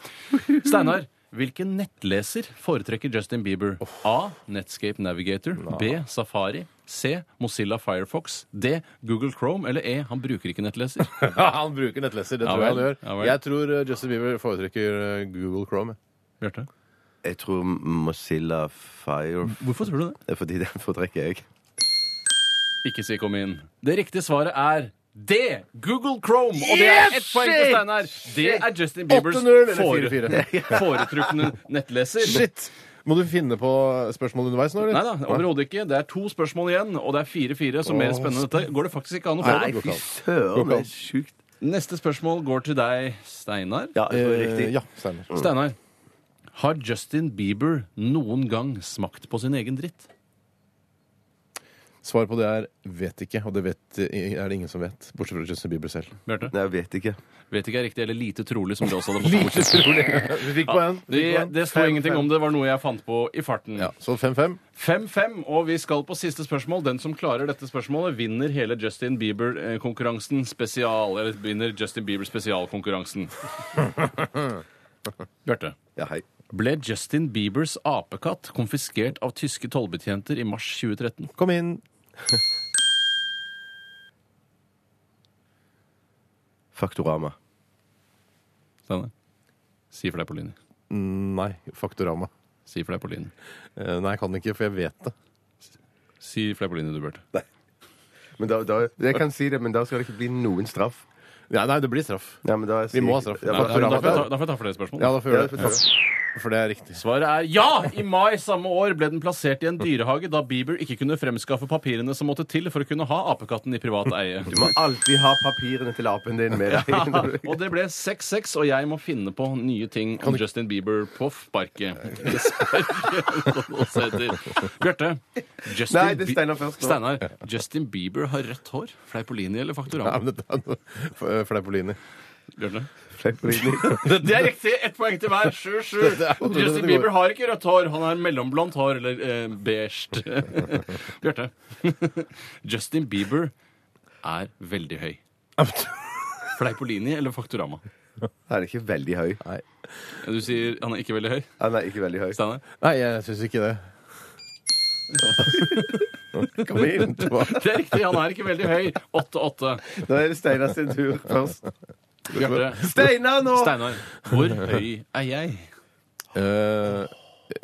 Steinar, hvilken nettleser foretrekker Justin Bieber? A. Netscape Navigator. B. Safari. C. Mozilla Firefox. D. Google Chrome. Eller E. Han bruker ikke nettleser. Han bruker nettleser, det Ja tror jeg han vel, gjør. ja vel. Jeg tror eh, Justin Bieber foretrekker eh, Google Chrome. Bjarte, Jeg tror Mozilla Fire hvorfor tror du det? Det er Fordi den foretrekker jeg. Ikke si kom inn. Det riktige svaret er D. Google Chrome. Og det er ett poeng til Steinar. Det er Justin Biebers 8-0 eller fore- 4-4? foretrukne nettleser. Shit! Må du finne på spørsmål underveis nå, eller? Nei da, overhodet ikke. Det er to spørsmål igjen, og det er 4-4, så mer Åh, spennende dette går det faktisk ikke an å få. Nei. det. Nei, fy søren, det er sjukt. Neste spørsmål går til deg, Steinar. Ja, jeg tror det er Eh, riktig. ja, Steinar. Steinar, har Justin Bieber noen gang smakt på sin egen dritt? Svaret på det er vet ikke, og det vet, eh, er det ingen som vet. Bortsett fra Justin Bieber selv. Bjarte? Nei, jeg vet ikke. Vet ikke er riktig, eller lite trolig, som det også hadde fått bort. Vi fikk poeng. Det, det sto ingenting om det, var noe jeg fant på i farten. Ja, så 5-5. 5-5, og vi skal på siste spørsmål. Den som klarer dette spørsmålet, vinner hele Justin Bieber-konkurransen spesial. Eller vinner Justin Bieber spesialkonkurransen. Bjarte. Ja, hei. Ble Justin Biebers apekatt konfiskert av tyske tollbetjenter i mars 2013? Kom inn. Faktorama. Steinar. Si for deg på linje. Nei. Faktorama. Si for deg på linje. Eh, Nei, jeg kan ikke, for jeg vet det. Si for deg på linje, du, Bjarte. Men da, da, jeg kan si det, men da skal det ikke bli noen straff. Nei, nei det blir straff. Ja, men da Vi må ha straff. Ja, Da Nei, får jeg Faktorama, ta, da, da får jeg ta for det spørsmålet. Ja, da får ja, jeg gjøre det. For det er riktig. Svaret er ja! I mai samme år ble den plassert i en dyrehage da Bieber ikke kunne fremskaffe papirene som måtte til for å kunne ha apekatten i privat eie. du må alltid ha papirene til apen din med deg. når du- Og det ble 6-6, og jeg må finne på nye ting om Justin Bieber på sparket. Ikke Sparket, som det også heter. Bjarte. Justin Nei, det er Bi- Steinar først nå. Steinar, Justin Bieber har rødt hår. Fleipolini eller Ja, Faktorama? men dette er noe f- Fleipolini. Bjarte? Fleipolini. Det er riktig. Ett poeng til hver. Sju, sju. Justin Bieber har ikke rødt hår. Han har mellomblondt hår, eller eh, beige. Bjarte. Justin Bieber er veldig høy. Fleipolini eller Faktorama? Han er ikke veldig høy. Nei. Du sier han er ikke veldig høy? Han er ikke veldig høy. Steinar? Nei, jeg syns ikke det. Kom inn tilbake. Det er riktig. Han er ikke veldig høy. 8-8. Da er det Steinar sin tur først. Bjarte. Steinar nå! Steinar, hvor høy er jeg? Eh,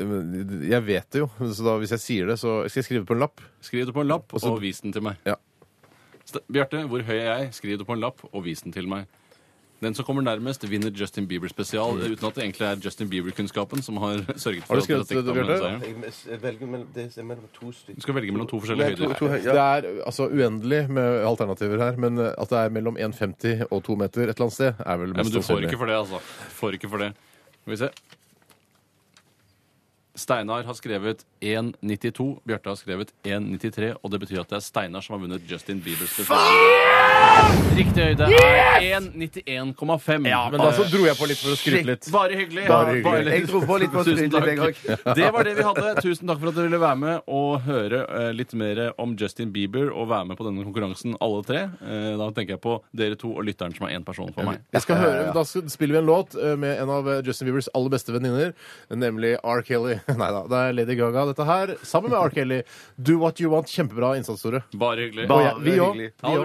men jeg vet det jo, så da, hvis jeg sier det, så skal jeg skrive det på en lapp. Skriv det på en lapp Og så- og vis den til meg. Ja. Ste- Bjarte, hvor høy er jeg? Skriv det på en lapp og vis den til meg. Den som kommer nærmest, vinner Justin Bieber spesial. Uten at det egentlig er Justin Bieber-kunnskapen som har sørget for Har du skrevet at det, dette ikke ble Bjarte? seieren. Jeg velger mellom, det er mellom to Du stykker. skal velge mellom to forskjellige To, høyder. to høy, ja. Det er altså uendelig med alternativer her, men eh, at det er mellom 1,50 og 2 meter et eller annet sted, er vel Nei, men mest du får ikke sannsynlig. for det, altså. Du Får ikke for det. Skal vi se. Steinar har skrevet 1,92. Bjarte har skrevet 1,93. Og det betyr at det er Steinar som har vunnet Justin Bieber spesial. Riktig høyde er 1,91,5. Ja, Men da så dro jeg på litt for å skryte litt. Bare hyggelig. Bare hyggelig. Bare Jeg dro på litt på Tusen trynet, jeg takk. òg. Det var det vi hadde. Tusen takk for at dere ville være med og høre eh, litt mer om Justin Bieber og være med på denne konkurransen, alle tre. Eh, Da tenker jeg på dere to og lytteren som er én person for meg. Jeg skal høre, Da skal- spiller vi en låt eh, med en av eh, Justin Biebers aller beste venninner, nemlig R. Kelly. Nei da, det er Lady Gaga, dette her. Sammen med R. Kelly. Do What You Want. Kjempebra innsats, Tore. Bare hyggelig. Og jeg- vi hyggelig. òg. Ha det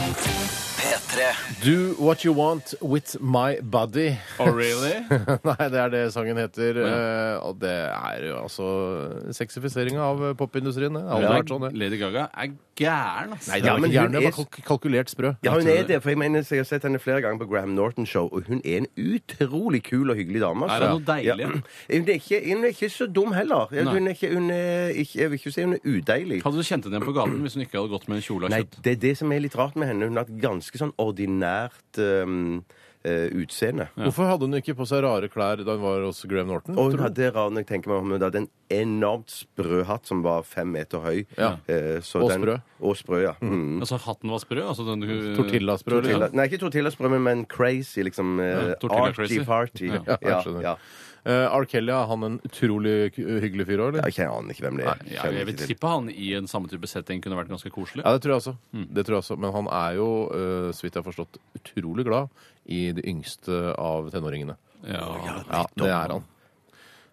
P3. Do What You Want With My Body. Oh, really? Nei, det er det sangen heter. eh, Og det er jo altså sexifiseringa av eh, popindustrien. Det har aldri vært sånn, det. Lady Gaga er gæren, ass. Nei, Ja, det var men ikke gjerne, hun det var er- kalk- kalkulert sprø. Ja, hun eh, er det. For jeg mener, så jeg har sett henne flere ganger på Graham Norton-show, og hun er en utrolig kul og hyggelig dame. altså. Er hun noe Ja. deilig? Hun, er ikke, hun er ikke så dum heller. Nei. Hun er ikke, hun er ikke, jeg vil ikke si hun er udeilig. Hadde du kjent henne igjen på gaten hvis hun ikke hadde gått med en kjole av Nei, kjøtt? det er det som er litt rart med henne. Hun har et ganske sånn ordinært øhm, øh, utseende. Hvorfor hadde hun ikke på seg rare klær da hun var hos Graham Norton? Og hun tror du? hadde rar, når jeg tenker meg om, hun hadde en enormt sprø hatt som var fem meter høy. Ja. Eh, så Og den- sprø. Og sprø, ja. Mm. Altså, hatten var sprø? Altså, den, hun, Tortillasprø? eller? Tortilla- Nei, ikke tortillasprø, men- men crazy, liksom. eh, liksom. Ja, tortilla crazy. Arty-farty. Ja. Ja, jeg skjønner. Eh, R. Kelly, er han en utrolig k- hyggelig fyr òg, eller? Ja, Jeg kjenner- aner ikke hvem det er. Ja, Kjenner jeg vil ikke til. tippe han i en samme type setting kunne vært ganske koselig. Ja, det tror jeg også. Det tror jeg også. Men han er jo, eh, så vidt jeg har forstått, utrolig glad i det yngste av tenåringene. Ja, Ja, det er han.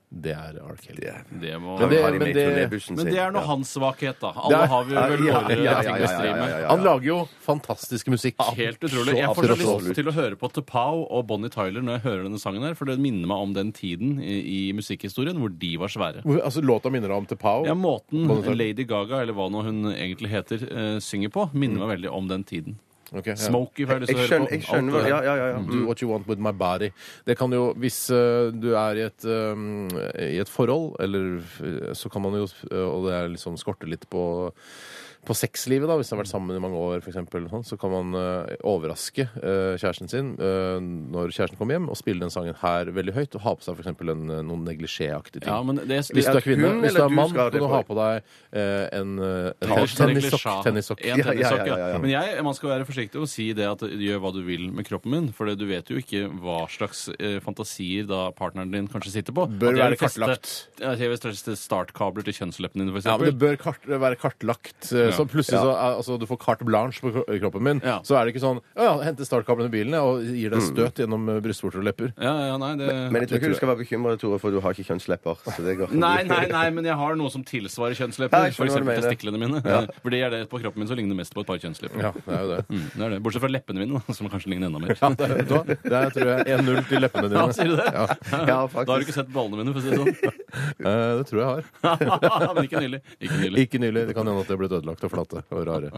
Det er R. Kelly. Det er- det må... Men det- har de med i det- turnébussen Men sin. det er Ja. nå hans svakhet, da. Det Alle er- har vi Ja, vel våre ja, ja, ting ja, å ja, stri med. ja, ja. Han lager jo fantastisk musikk. Helt Så utrolig. Jeg får så lyst absolutt. til å høre på Tepau og Bonnie Tyler når jeg hører denne sangen her, for det minner meg om den tiden i, i musikkhistorien hvor de var svære. Hvor- Altså, Låta minner deg om til Pau. Ja, måten Bonnie Tyler. Lady Gaga, eller hva nå hun egentlig heter, eh, synger på, minner meg veldig om den tiden. Ok, ja. Smokey får jeg Mm. lyst Jeg til å høre skjønner, på. jeg skjønner hva- Alt Mm. det Ja, der. ja, ja. Mm. ja. Do what you want with my body. Det kan jo, Hvis eh, du er i et, eh, i et forhold, eller eh, så kan man jo eh, Og det er liksom skorte litt på på sexlivet, da, hvis du har vært sammen i mange år, for eksempel, sånn, så kan man eh, overraske eh, kjæresten sin eh, når kjæresten kommer hjem, og spille den sangen her veldig høyt, og ha på seg for eksempel en, eh, noen neglisjéaktige ting. Ja, men det hvis du spiller er kvinne, hun hvis du eller er du mann, skal ha kan det du på? ha på deg eh, en, eh, en Tennis- tennissokk. neglisjé. tennissokk. En Ja, ja, tennissokk, ja, ja, ja. ja. Men jeg, man skal være forsiktig og si det at gjør hva du vil med kroppen min, for det- du vet jo ikke hva slags eh, fantasier da partneren din kanskje sitter på. Bør At jeg være vil feste- kartlagt. Ja, Jeg vil feste startkabler til kjønnsleppene dine, for Ja, men eksempel. det bør kart, være kartlagt, eh, Så plutselig så er, altså, du får carte blanche på kro- kroppen min. Ja. Så er det ikke sånn «Å ja, hente startkablene i bilen jeg, og gir deg støt gjennom eh, brystvorter og lepper. Ja, ja, nei, det... Men jeg tror ikke du skal være bekymret, Tore, for du har ikke kjønnslepper. Så det går Nei, nei, nei, men jeg har noe som tilsvarer Ja, kjønnslepper. jeg skjønner hva du For eksempel mener. testiklene mine. For det er det på kroppen min som ligner mest på et par kjønnslepper. Ja, det er jo det. Mm, det er det. Bortsett fra leppene mine, da, som kanskje ligner enda mer. Ja, det, er- vet du hva? det er, tror jeg 1-0 til leppene dine. Ja, sier du det? Ja. Ja, Da har du faktisk. ikke sett ballene mine, for å si det sånn. Eh, det tror jeg har. men ikke nylig. Ikke nylig. Ikke nylig. Det kan hende at det er blitt ødelagt og flate og rare.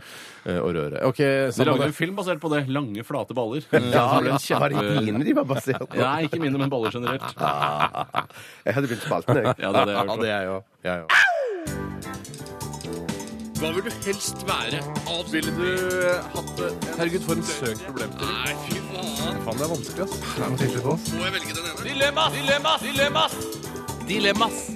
eh, Og røre. OK, De samme lagde det. en film basert på det. Lange, flate baller. Ja, Eh, ja, som var ble det en kjempe... dine de var basert på? Nei, ikke mine, men baller generelt. Jeg hadde begynt spalten, jeg. Ja, det er det Ja, jeg har hørt. det er jeg òg. Jeg òg. Hva vil du helst være? Ville du hatt det? Herregud, for en søk problemstilling. Nei, fy faen. Faen, det er vanskelig, ass. Må jeg velge den ene? Dilemmas! Dilemmas! Dilemmas! Dilemmas!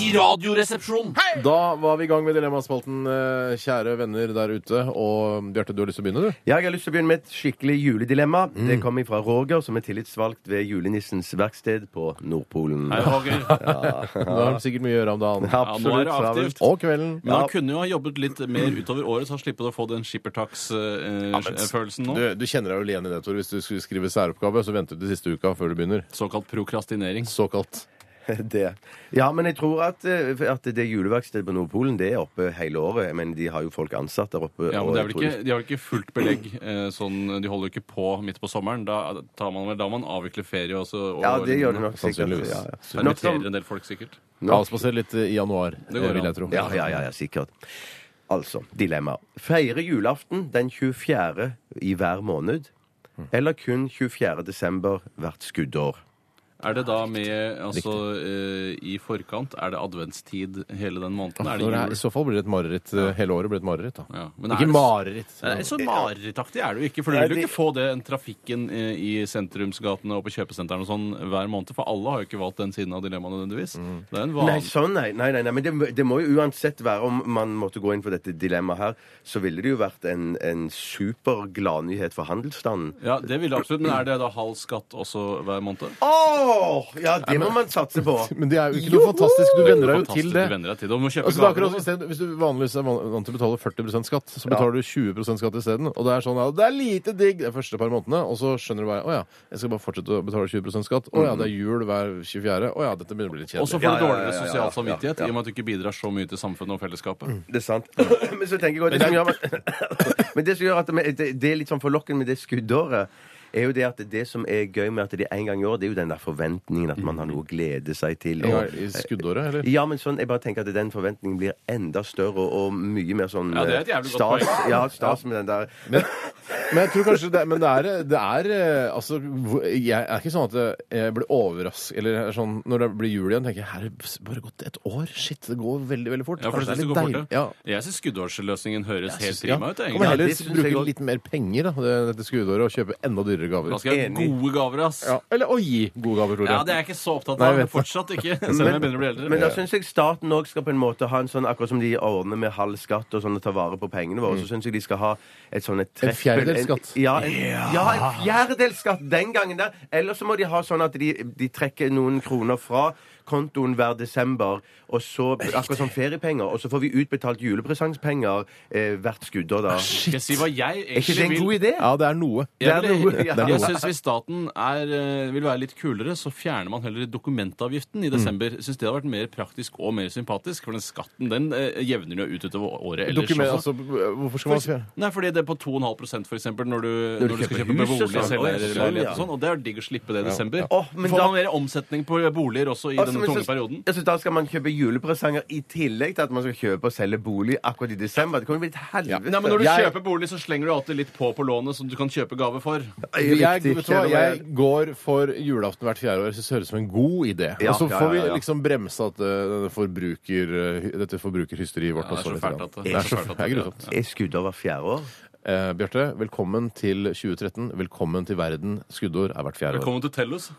I radioresepsjonen. Hei! Da var vi i gang med Dilemmaspalten, eh, kjære venner der ute. Og Bjarte, du har lyst til å begynne, du? Ja, jeg har lyst til å begynne med et skikkelig juledilemma. Mm. Det kommer fra Roger, som er tillitsvalgt ved julenissens verksted på Nordpolen. Nei, Roger. Da har du sikkert mye å gjøre om dagen. Ja, nå er det travelt. aktivt. Og kvelden. Men han kunne jo ha jobbet litt mer utover året, så han slipper å få den skippertax-følelsen nå. Du, du kjenner deg jo igjen i det, Tor. Hvis du skulle skrive særoppgave, så venter du til siste uka før du begynner. Såkalt prokrastinering. Såkalt. Det. Ja, men jeg tror at, eh, at det juleverkstedet på Nordpolen det er oppe hele året. Men de har jo folk ansatt der oppe. Ja, og men det er jeg vel tror ikke, De har vel ikke fullt belegg. Eh, sånn, de holder jo ikke på midt på sommeren. Da tar man vel da man avvikler ferie også. Og, Ja, det gjør de nok sikkert. Sannsynligvis. Ja, Så ja. Nok Inviterer som, en del folk, sikkert. Avspaser litt eh, i januar, det går vil an. jeg tro. ja, ja, ja, ja, sikkert. Altså, dilemma. Feire julaften den 24. i hver måned, eller kun 24. desember hvert skuddår? Er det da med Altså, eh, i forkant er det adventstid hele den måneden? Er det Når det er, jul? I så fall blir det et mareritt. eh, Hele året blir det et mareritt, da. Ja, men er Ikke det- mareritt. Nei, Så marerittaktig er det jo ikke. For du Nei, vil jo de- ikke få den trafikken eh, i sentrumsgatene og på kjøpesentrene og sånn hver måned. For alle har jo ikke valgt den siden av dilemmaet nødvendigvis. Mm. Det er en Nei, van... sånn, nei. nei, nei, nei. Men det, det må jo uansett være om man måtte gå inn for dette dilemmaet her, så ville det jo vært en, en super gladnyhet for handelsstanden. Ja, det vil jeg absolutt. Men er det da halv skatt også hver måned? Åh! Ja, det må man satse på. Men det er jo ikke noe fantastisk. Du venner deg jo til Fantastisk, det. Du venner deg til det. Og må kjøpe Altså, det er gaver akkurat som i stedet- Hvis du vanligvis er van- vant til å betale 40 skatt, så betaler du 20 skatt isteden. Og det er sånn ja, det er lite digg de første par månedene, og så skjønner du bare å ja, jeg skal bare fortsette å betale 20 skatt. Å ja, det er jul hver 24. Å ja, dette begynner å bli litt Og kjedelig. så får du Ja, ja, ja, ja, dårligere ja, sosial ja, samvittighet ja. i og med at du ikke bidrar så mye til samfunnet og fellesskapet. Mm. Det er sant. Men så tenker jeg også, det som gjør, men det som gjør at det, det, det er litt sånn forlokkende med det skuddåret, er jo det at det som er gøy med at det er en gang i år, det er jo den der forventningen at man har noe å glede seg til. Ja, Og, I skuddåret, eller? ja, men sånn, jeg bare tenker at den forventningen blir enda større og, og mye mer sånn Ja, det er et eh, jævlig godt stas, ja, stas med den der Men jeg tror kanskje det, men det er, det er eh, Altså, hvor- jeg er ikke sånn at jeg blir overrasket Eller jeg er sånn, når det blir jul igjen, tenker jeg her er det bare gått et år. Shit, det går veldig, veldig fort. Ja, for Kanskje det er litt synes jeg går fort, deilig. Ja. ja. Jeg syns skuddårsløsningen høres helt Ja. prima ut. Kan man egentlig. heller det synes jeg bruke også. litt mer penger da, det- dette skuddåret og kjøpe enda dyrere gaver. Da skal jeg ha Enig. gode gaver, ass. Ja, eller å gi gode gaver, tror jeg. Ja, det er jeg ikke så opptatt Nei, jeg av. vet det. Fortsatt ikke. Selv om jeg begynner å bli eldre. Men da syns jeg staten òg skal på en måte ha en sånn Akkurat som de ordner med halv skatt og sånn og tar vare på pengene våre, så Mm. syns jeg de skal ha et sånn et treff- fjerdedels skatt. En, ja, en, ja, en fjerdedels skatt den gangen der. Eller så må de ha sånn at de, de trekker noen kroner fra kontoen hver desember, og så akkurat som feriepenger, og så får vi utbetalt julepresangspenger eh, hvert skuddår da. Skal jeg si hva jeg Er ikke det egentlig en vil? god idé? Ja, det er noe. Det er Jeg, vil- noe, ja. jeg synes Hvis staten er, eh, vil være litt kulere, så fjerner man heller dokumentavgiften i Mm. desember. Jeg Syns det hadde vært mer praktisk og mer sympatisk, for den skatten den eh, jevner jo ut utover året ellers. Dokument, også. altså, hvorfor skal man fjerne? Nei, fordi det er på 2,5 for eksempel, når du, når du skal kjøper kjøpe hus og sånn. bolig, Å, ja, selger leilighet og sånn, ja. sånn, og det er digg å slippe det i desember. Åh, men Får da- man mer omsetning på boliger også i Altså, denne men tunge så- perioden? Jeg synes Da skal man kjøpe julepresanger i tillegg til at man skal kjøpe og selge bolig akkurat i desember. Det kommer til å bli et helvete. Nei, men Når du Jeg- kjøper bolig, så slenger du alltid litt på på lånet som du kan kjøpe gave for. Jeg, vet du hva, Kjell, jeg går for julaften hvert fjerde år. Jeg synes det høres ut som en god idé. Ja, og så ja, får ja, vi ja. liksom bremse at eh, denne forbruker, eh, dette forbrukerhysteriet vårt Ja, det er også så litt fælt grann. at det- Det er så fælt. Det er grusomt. Er skuddår hvert fjerde år? Eh, Bjarte, velkommen til 2013. Velkommen til verden. Skuddår er hvert fjerde år. Velkommen til Tellus.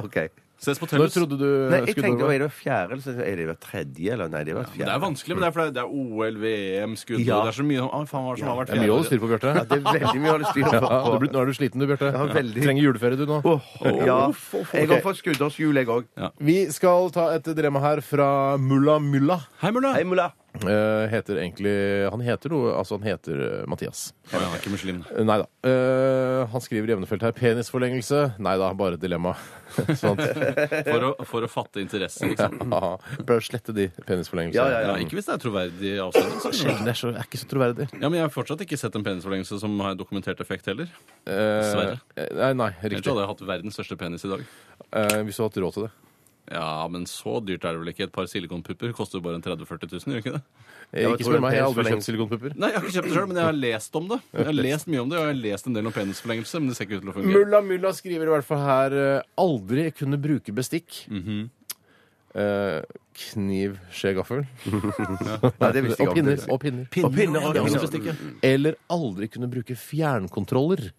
OK. Ses på Når Tellus. trodde du Nei, jeg skuddår tenkte, var? Er det fjerde, eller så er det hvert tredje? Eller nei, det er hvert Det fjerde. er vanskelig, men det er fordi det er OL, VM, E skudd Ja. Det er så mye ah, faen, hva er det som har vært Det er mye å holde styr på, Bjarte. Ja, det er veldig mye å holde styr Ja, på. du blir- nå er du sliten du, Bjarte. Ja, veldig. Trenger juleferie du nå. Åh, ja. Uff, uff, Jeg går ok. for skuddårshjul, jeg òg. Vi skal ta et dilemma her fra mulla Mulla. Hei, Mulla. Hei, mulla. eh, heter egentlig Han heter noe Altså, han heter eh, Mathias. Han er ikke muslim. Eh, Nei da. Eh, han skriver i emnefelt her 'penisforlengelse'. Nei da, bare et dilemma. Sånt. For å, for å fatte interessen, liksom. Ja, Bør slette de penisforlengelsene. Ja, ja, Ja, ikke hvis det er troverdig avsender. Sjelden. Det er, så, er ikke så troverdig. Ja, men jeg har fortsatt ikke sett en penisforlengelse som har dokumentert effekt heller. Eh, Dessverre. nei, nei, Ellers riktig. hadde jeg hatt verdens største penis i dag. Eh, hvis du hadde hatt råd til det. Ja, men så dyrt er det vel ikke? Et par silikonpupper koster jo bare en 30 000-40 000, gjør ikke det? Eh, jeg ikke tror spør meg, jeg har aldri penisforlengelse- kjøpt silikonpupper. Nei, jeg har ikke kjøpt det sjøl, men jeg har lest om det. Jeg har lest mye om det, og jeg har lest en del om penisforlengelse, men det ser ikke ut til å fungere. Mulla Mulla skriver i hvert fall her eh, aldri kunne bruke bestikk. Mhm. Eh, kniv, skje, gaffel. Nei, det visste jeg og ikke. pinner. Og pinner. Og pinner, ja, pinner. Eller aldri kunne bruke fjernkontroller.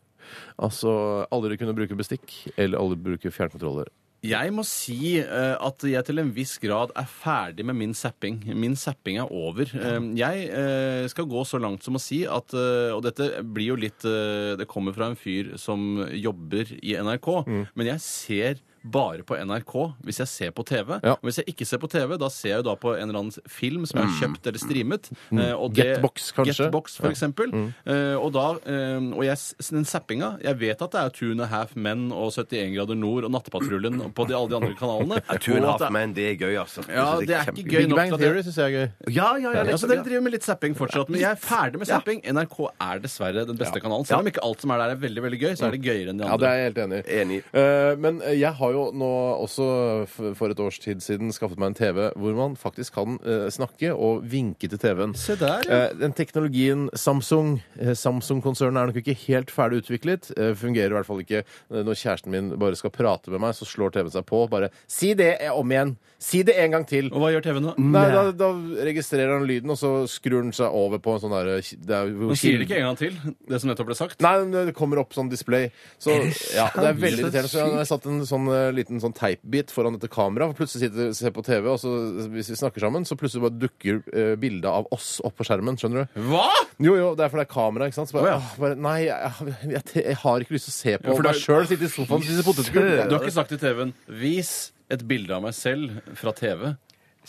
Altså aldri kunne bruke bestikk eller aldri bruke fjernkontroller. Jeg må si eh, at jeg til en viss grad er ferdig med min zapping. Min zapping er over. Eh, jeg eh, skal gå så langt som å si at eh, Og dette blir jo litt eh, Det kommer fra en fyr som jobber i NRK, Mm. men jeg ser bare på NRK hvis jeg ser på TV. Ja. Og hvis jeg ikke ser på TV, da ser jeg jo da på en eller annen film som jeg har kjøpt eller streamet. eh, og det- Mm. Getbox, kanskje? Getbox, for eksempel. Eh, og da, eh, og jeg, s- den zappinga Jeg vet at det er Two and a Half Men og 71 grader nord og Nattpatruljen og på de, alle de andre kanalene. Two and a Og at det- half men, det er gøy, altså. Ja, det er ikke gøy Big nok Bang til at det- Theory syns jeg er gøy. Ja, ja, ja. Ja, så Liksom, Dere ja. driver med litt zapping fortsatt, men jeg er ferdig med zapping. NRK er dessverre den beste kanalen. Selv om ikke alt som er der, er veldig veldig gøy, så er Mm. det gøyere enn de Ja, det andre. er jeg helt enig i. Enig. Eh, men jeg har jo nå også f- for et års tid siden skaffet meg en TV hvor man faktisk kan eh, snakke og vinke til TV-en. Se der, ja. Eh, den teknologien Samsung eh, Samsung-konsernet er nok ikke helt ferdig utviklet. Eh, fungerer i hvert fall ikke eh, når kjæresten min bare skal prate med meg, så slår TV-en seg på. Bare si det eh, om igjen! Si det en gang til! Og hva gjør TV nå? Nei, da, da registrerer han lyden, og så skrur han seg over på en sånn derre det er jo- Nå sier det ikke en gang til, det som nettopp ble sagt. Nei, men det kommer opp sånn display. Så, ja, det er veldig irriterende. Så jeg har satt en sånn eh, liten sånn teipbit foran dette kameraet. for Plutselig sitter ser på TV, og så, hvis vi snakker sammen, så plutselig bare dukker eh, bildet av oss opp på skjermen. Skjønner du? Hva?! Jo, jo, det er fordi det er kamera, ikke sant? Så bare, Å, ja. åh, bare Nei, jeg, jeg, jeg har ikke lyst til å se på for meg det sjøl sitte i sofaen og spise Du potetgull. har ikke sagt til TV-en 'vis et bilde av meg selv fra TV'.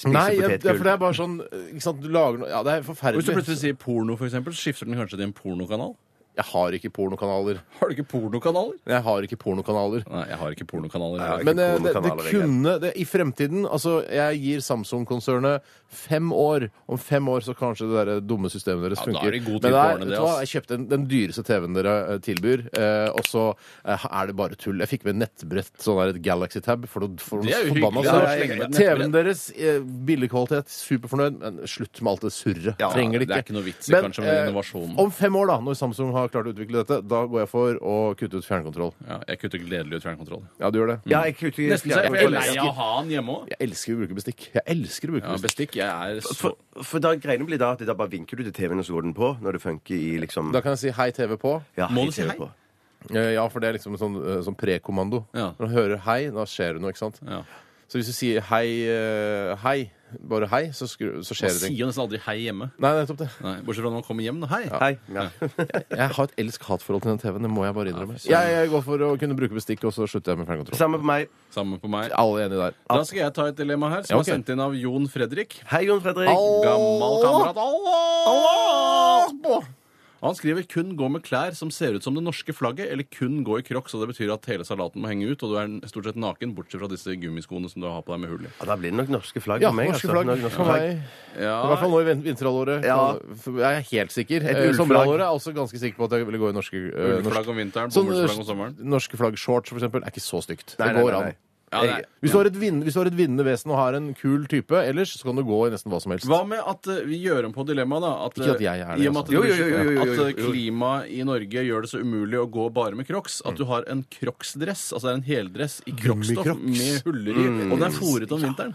Nei, Spise jeg, det er potetgull. fordi det er bare sånn eh, ikke sant? Du lager noe Ja, det er Hvis du plutselig forferdelig. sier porno, for eksempel, så skifter den kanskje til en pornokanal? Jeg har ikke pornokanaler. Har du ikke pornokanaler? Jeg har ikke pornokanaler. Nei, jeg har ikke pornokanaler. Nei. Men eh, Ikke det, pornokanaler, det jeg. kunne det, I fremtiden Altså, jeg gir Samsung-konsernet fem år. Om fem år så kanskje det der dumme systemet deres Ja, da er funker. de Men gode til å nei, ordne det, vet du hva? ass. Jeg kjøpte den, den dyreste TV-en dere eh, tilbyr, eh, og så eh, er det bare tull. Jeg fikk med nettbrett, sånn der et Galaxy Tab. For noe, for Det noe er jo forbanna hyggelig, surr. da, å slenge med et nettbrett. TV-en deres, eh, billig kvalitet, superfornøyd, men slutt med alt det surret. Ja, Trenger det det ikke. er ikke noe vits i kanskje med eh, innovasjon. Om fem år, da, når Samsung har klart å utvikle dette, da går jeg for å kutte ut fjernkontroll. Ja, jeg kutter gledelig ut fjernkontroll. Ja, du gjør det. Ja, jeg kutter Nesten så jeg er lei av å ha den hjemme òg. Jeg elsker å bruke bestikk. Jeg elsker å bruke Ja, bestikk. bestikk. Jeg er så For, for da greiene blir da at da bare vinker du til TV-en, og så går den på når det funker i liksom Da kan jeg si 'hei, TV' på. ja, Må i du si TV hei? på. Eh, Ja, for det er liksom en sånn, eh, sånn prekommando. Ja. Når du hører 'hei', da skjer det noe, ikke sant? ja. Så hvis du sier 'hei, eh, hei', bare 'hei', så, skru, så skjer Man det ting. sier jo nesten aldri hei hjemme. Nei, nettopp det. Nei, bortsett fra når man kommer hjem. da. Hei! Hei. Ja. Jeg har et elsk-hat-forhold til den TV-en. Det må jeg bare innrømme. Ja, jeg, jeg går for å kunne bruke bestikk, og så slutter jeg med fjernkontroll. Samme på meg. Samme på meg. Alle enige der. Da skal jeg ta et dilemma her, som Ja, ok. er sendt inn av Jon Fredrik. Hei, Jon Fredrik. Gammal kamerat. Allah! Han skriver 'kun gå med klær som ser ut som det norske flagget', eller 'kun gå i crocs', og det betyr at hele salaten må henge ut, og du er stort sett naken, bortsett fra disse gummiskoene som du har på deg med hull i. Ja, da blir det nok norske flagg Ja, for meg. norske altså. flagg. Nok norske For flagg. meg. I hvert fall Ja, nå i vin- vinterhalvåret. Ja. Jeg er helt sikker. Et Eh, ullflagg. Sommerhalvåret er jeg også ganske sikker på at jeg ville gå i norske eh, norsk- Ullflagg om vinteren, Sånn, bomullsflagg om sommeren. norske flagg-shorts, for eksempel, er ikke så stygt. Nei, det nei, går nei, an. Eh, nei. Ja, det er- Hvis du, har et vinn, hvis du har et vinnende vesen og har en kul type ellers, så kan du gå i nesten hva som helst. Hva med at eh, vi gjør om på dilemmaet, da? At, eh, Ikke at jeg er det, I og med at, altså. det blir Jo, jo, jo, jo, jo, så- jo, jo. at eh, klimaet i Norge gjør det så umulig å gå bare med crocs, Mm. at du har en crocsdress, altså det er en heldress i crocsstoff Gummicrocs. med huller i, Mm. og den er fòret om vinteren.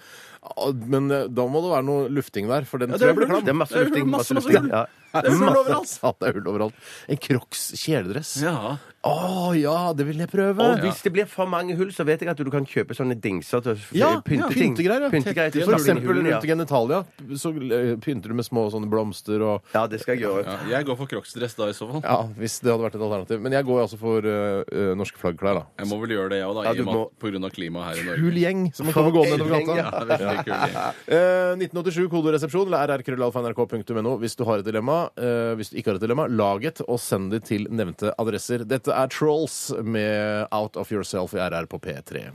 Ah, Men eh, da må det være noe lufting der, for den Ja, det tror er jeg blir hull. klam. Det er masse Det er lufting. masse, Masse masse lufting. hull. Ja. Det er hull overalt. Ja, det er hull overalt. En Crocs kjeledress. Å Ja. ja, det vil jeg prøve! Og hvis det blir for mange hull, så vet jeg at du kan kjøpe sånne dingser til å Ja, pynteting. pyntegreier. Ja. Pyntegreier til For å stable inn i eksempel hullene, rundt genitalia. Så eh, pynter du med små sånne blomster og ja. ja, det skal jeg gjøre. ja. Jeg går for crocsdress da, i så fall. Ja, hvis det hadde vært et alternativ. Men jeg går altså for eh, eh, norske flaggklær, da. Jeg må vel gjøre det, jeg òg, da, Ja, i du og med må- at- på grunn av klimaet her i Norge. Kul gjeng som man kommer gående en nedover gjeng, gata. Selvfølgelig. Eh, 1987 kodoresepsjon eller rrkrøllalfa.nrk.no hvis du har et dilemma. Eh, hvis du ikke har et dilemma, lag et og send det til nevnte adresser. Dette er Trolls med Out of Yourself i RR på P3.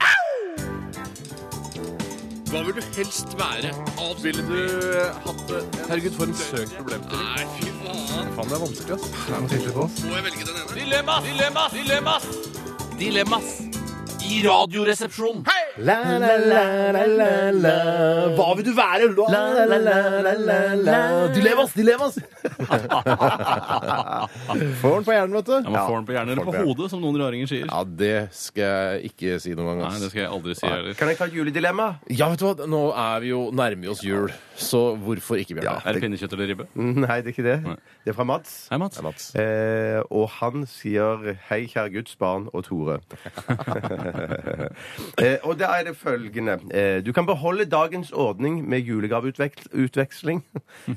Hva vil du helst være? Ville du hatt det? Herregud, for en søk problemstilling. Nei, fy faen. Faen, det er vanskelig, ass. Må jeg velge den ene? Dilemmas! Dilemmas! Dilemmas! Dilemmas! I radioresepsjonen. Hei! La, la, la, la, la, la. Hva vil du være? La, la, la, la, la, la. Dilemmas, dilemmas! Får den på hjernen, vet Ja, du. man får den på hjernen eller får på den på hodet, som noen raringer sier. Ja, det skal jeg ikke si noen gang, Nei, det ass. skal jeg aldri si heller. Kan jeg ta et juledilemma? Ja, vet du hva, nå er vi jo nærmer vi oss jul, så hvorfor ikke, Bjørn? Er det pinnekjøtt eller ribbe? Nei, det er ikke det. Det er fra Mats. Hei, Mats. Mats. Eh, og han sier 'Hei, kjære Guds barn og Tore'. eh, og da er det følgende eh, Du kan beholde dagens ordning med julegaveutveksling.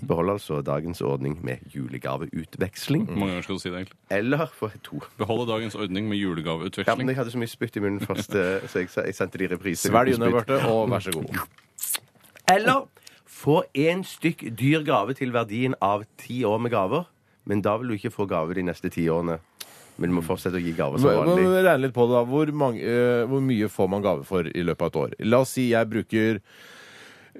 Behold altså dagens ordning med Hvor Mm. julegaveutveksling. mange ganger skal du si det, egentlig? Eller for to. Beholde dagens ordning med Ja, men julegaveutveksling. jeg hadde så mye spytt i munnen først, eh, så jeg, jeg sendte de repriser. Svelg uten unna, spytt. Bjarte, og vær så god. Eller få én stykk dyr gave til verdien av ti år med gaver. Men da vil du ikke få gave de neste ti årene. Men du må fortsette å gi gaver som Men- Altså, vanlig. men Regn litt på det, da. Hvor, mange, eh, hvor mye får man gave for i løpet av et år? La oss si jeg bruker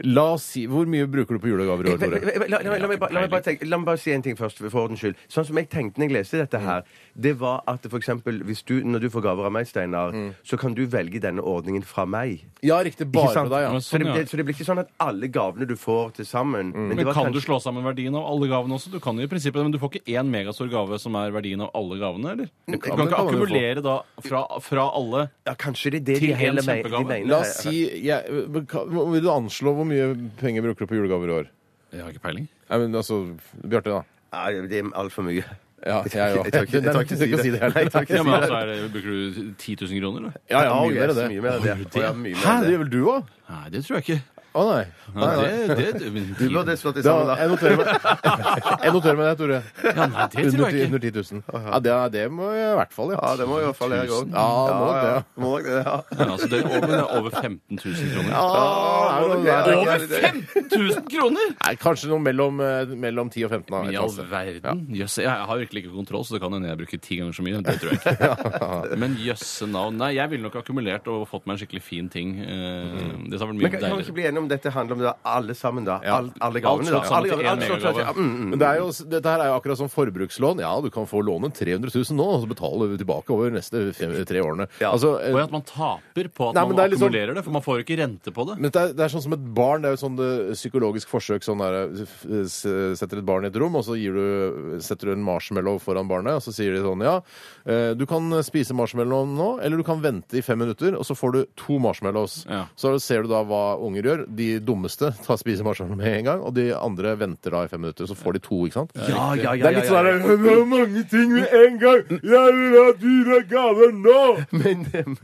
La oss si, Hvor mye bruker du på julegaver i år, Men- men- Tore? men- La, la, la, meg bare- la, meg bare tenke- la meg bare si en ting først, for ordens skyld. Sånn som jeg tenkte når jeg leste dette her, det var at for eksempel hvis du, når du får gaver av meg, Steinar, så kan du velge denne ordningen fra meg. Ja, riktig. Ikke Bare sant? på deg, ja. Men så, sånn, det, ja. det, så det blir ikke sånn at alle gavene du får til sammen det Men var Kan kanskje- du slå sammen verdien av alle gavene også? Du kan jo i prinsippet, Men du får ikke én megastor gave som er verdien av alle gavene, eller? Du kan, det kan ikke man jo få. akkumulere da fra, fra alle ja, Kanskje det er det Til de en heller me- de kjempegave. mener. La oss si jeg, men kan- Vil du anslå hvor mye penger bruker du på julegaver i år? Jeg har ikke peiling. Nei, men altså Bjarte, da. Nei, Det er altfor mye. Ja, jeg òg. Jeg tør ikke- jeg tør ikke si det. Nei, jeg tør ikke Ja, men si det. altså, er det, Bruker du 10 000 kroner, da? Ja, ja, Ja, mye yes, mer enn mye det. mer enn det. Å, ja, mye mer Hæ, enn det det. gjør vel du òg? Nei, det tror jeg ikke. Å nei. Nei, nei, nei. det, det, men Du 10 000. burde slått det sammen, Da, da. jeg noterer meg Jeg noterer meg det, Tore. Ja, nei, det Under, tror ti- jeg under ikke. 10 000. Ja, det, er- det må jeg i hvert fall, Ja, ja. det må i hvert fall jeg òg. Ja, må nok det, ja. Må nok det, ja. Ja, altså, det er over, det er over 15 000 kroner. Ah, må er det- nok det, ja. Over Det er- 1000 kroner?! Nei, kanskje noe mellom, eh, mellom 10 og 15. Da, et I eller all annet sted. verden. Jøss, jeg har virkelig ikke kontroll, så det kan hende jeg bruker ti ganger så mye. Det tror jeg ikke. Men jøsse navn. Nei, jeg ville nok akkumulert og fått meg en skikkelig fin ting. Eh, Det Men hadde vært mye kan, kan vi ikke deiligere. bli enige om dette handler om da, alle sammen, da? Ja. All, alle gavene? da? slått sammen Alle til gavene, én alt slått megagave. sammen til- ja, mm, mm. Men det er jo, dette her er jo akkurat som forbrukslån. Ja, du kan få låne 300 000 nå, og så betale tilbake over neste fem, tre årene. Ja. Altså, eh, Og at man taper på at Nei, men man det er litt sånn- akkumulerer det, for man får jo ikke rente på det. men det er, det er sånn som et barn. Det er jo sånn det, psykologisk forsøk. Sånn der, f- s- eh, setter et barn i et rom, og så gir du, setter du en marshmallow foran barnet, og så sier de sånn Ja, eh, du kan spise marshmallowen nå, eller du kan vente i fem minutter, og så får du to marshmallows. Ja. Så ser du da hva unger gjør. De dummeste tar spiser marshmallow med en gang, og de andre venter da i fem minutter. Så får de to, ikke sant? Ja, ja, ja, Det er litt sånn ja, ja. der, Det er mange ting med en gang! Jeg vil ha dyre gaver nå! Men, men,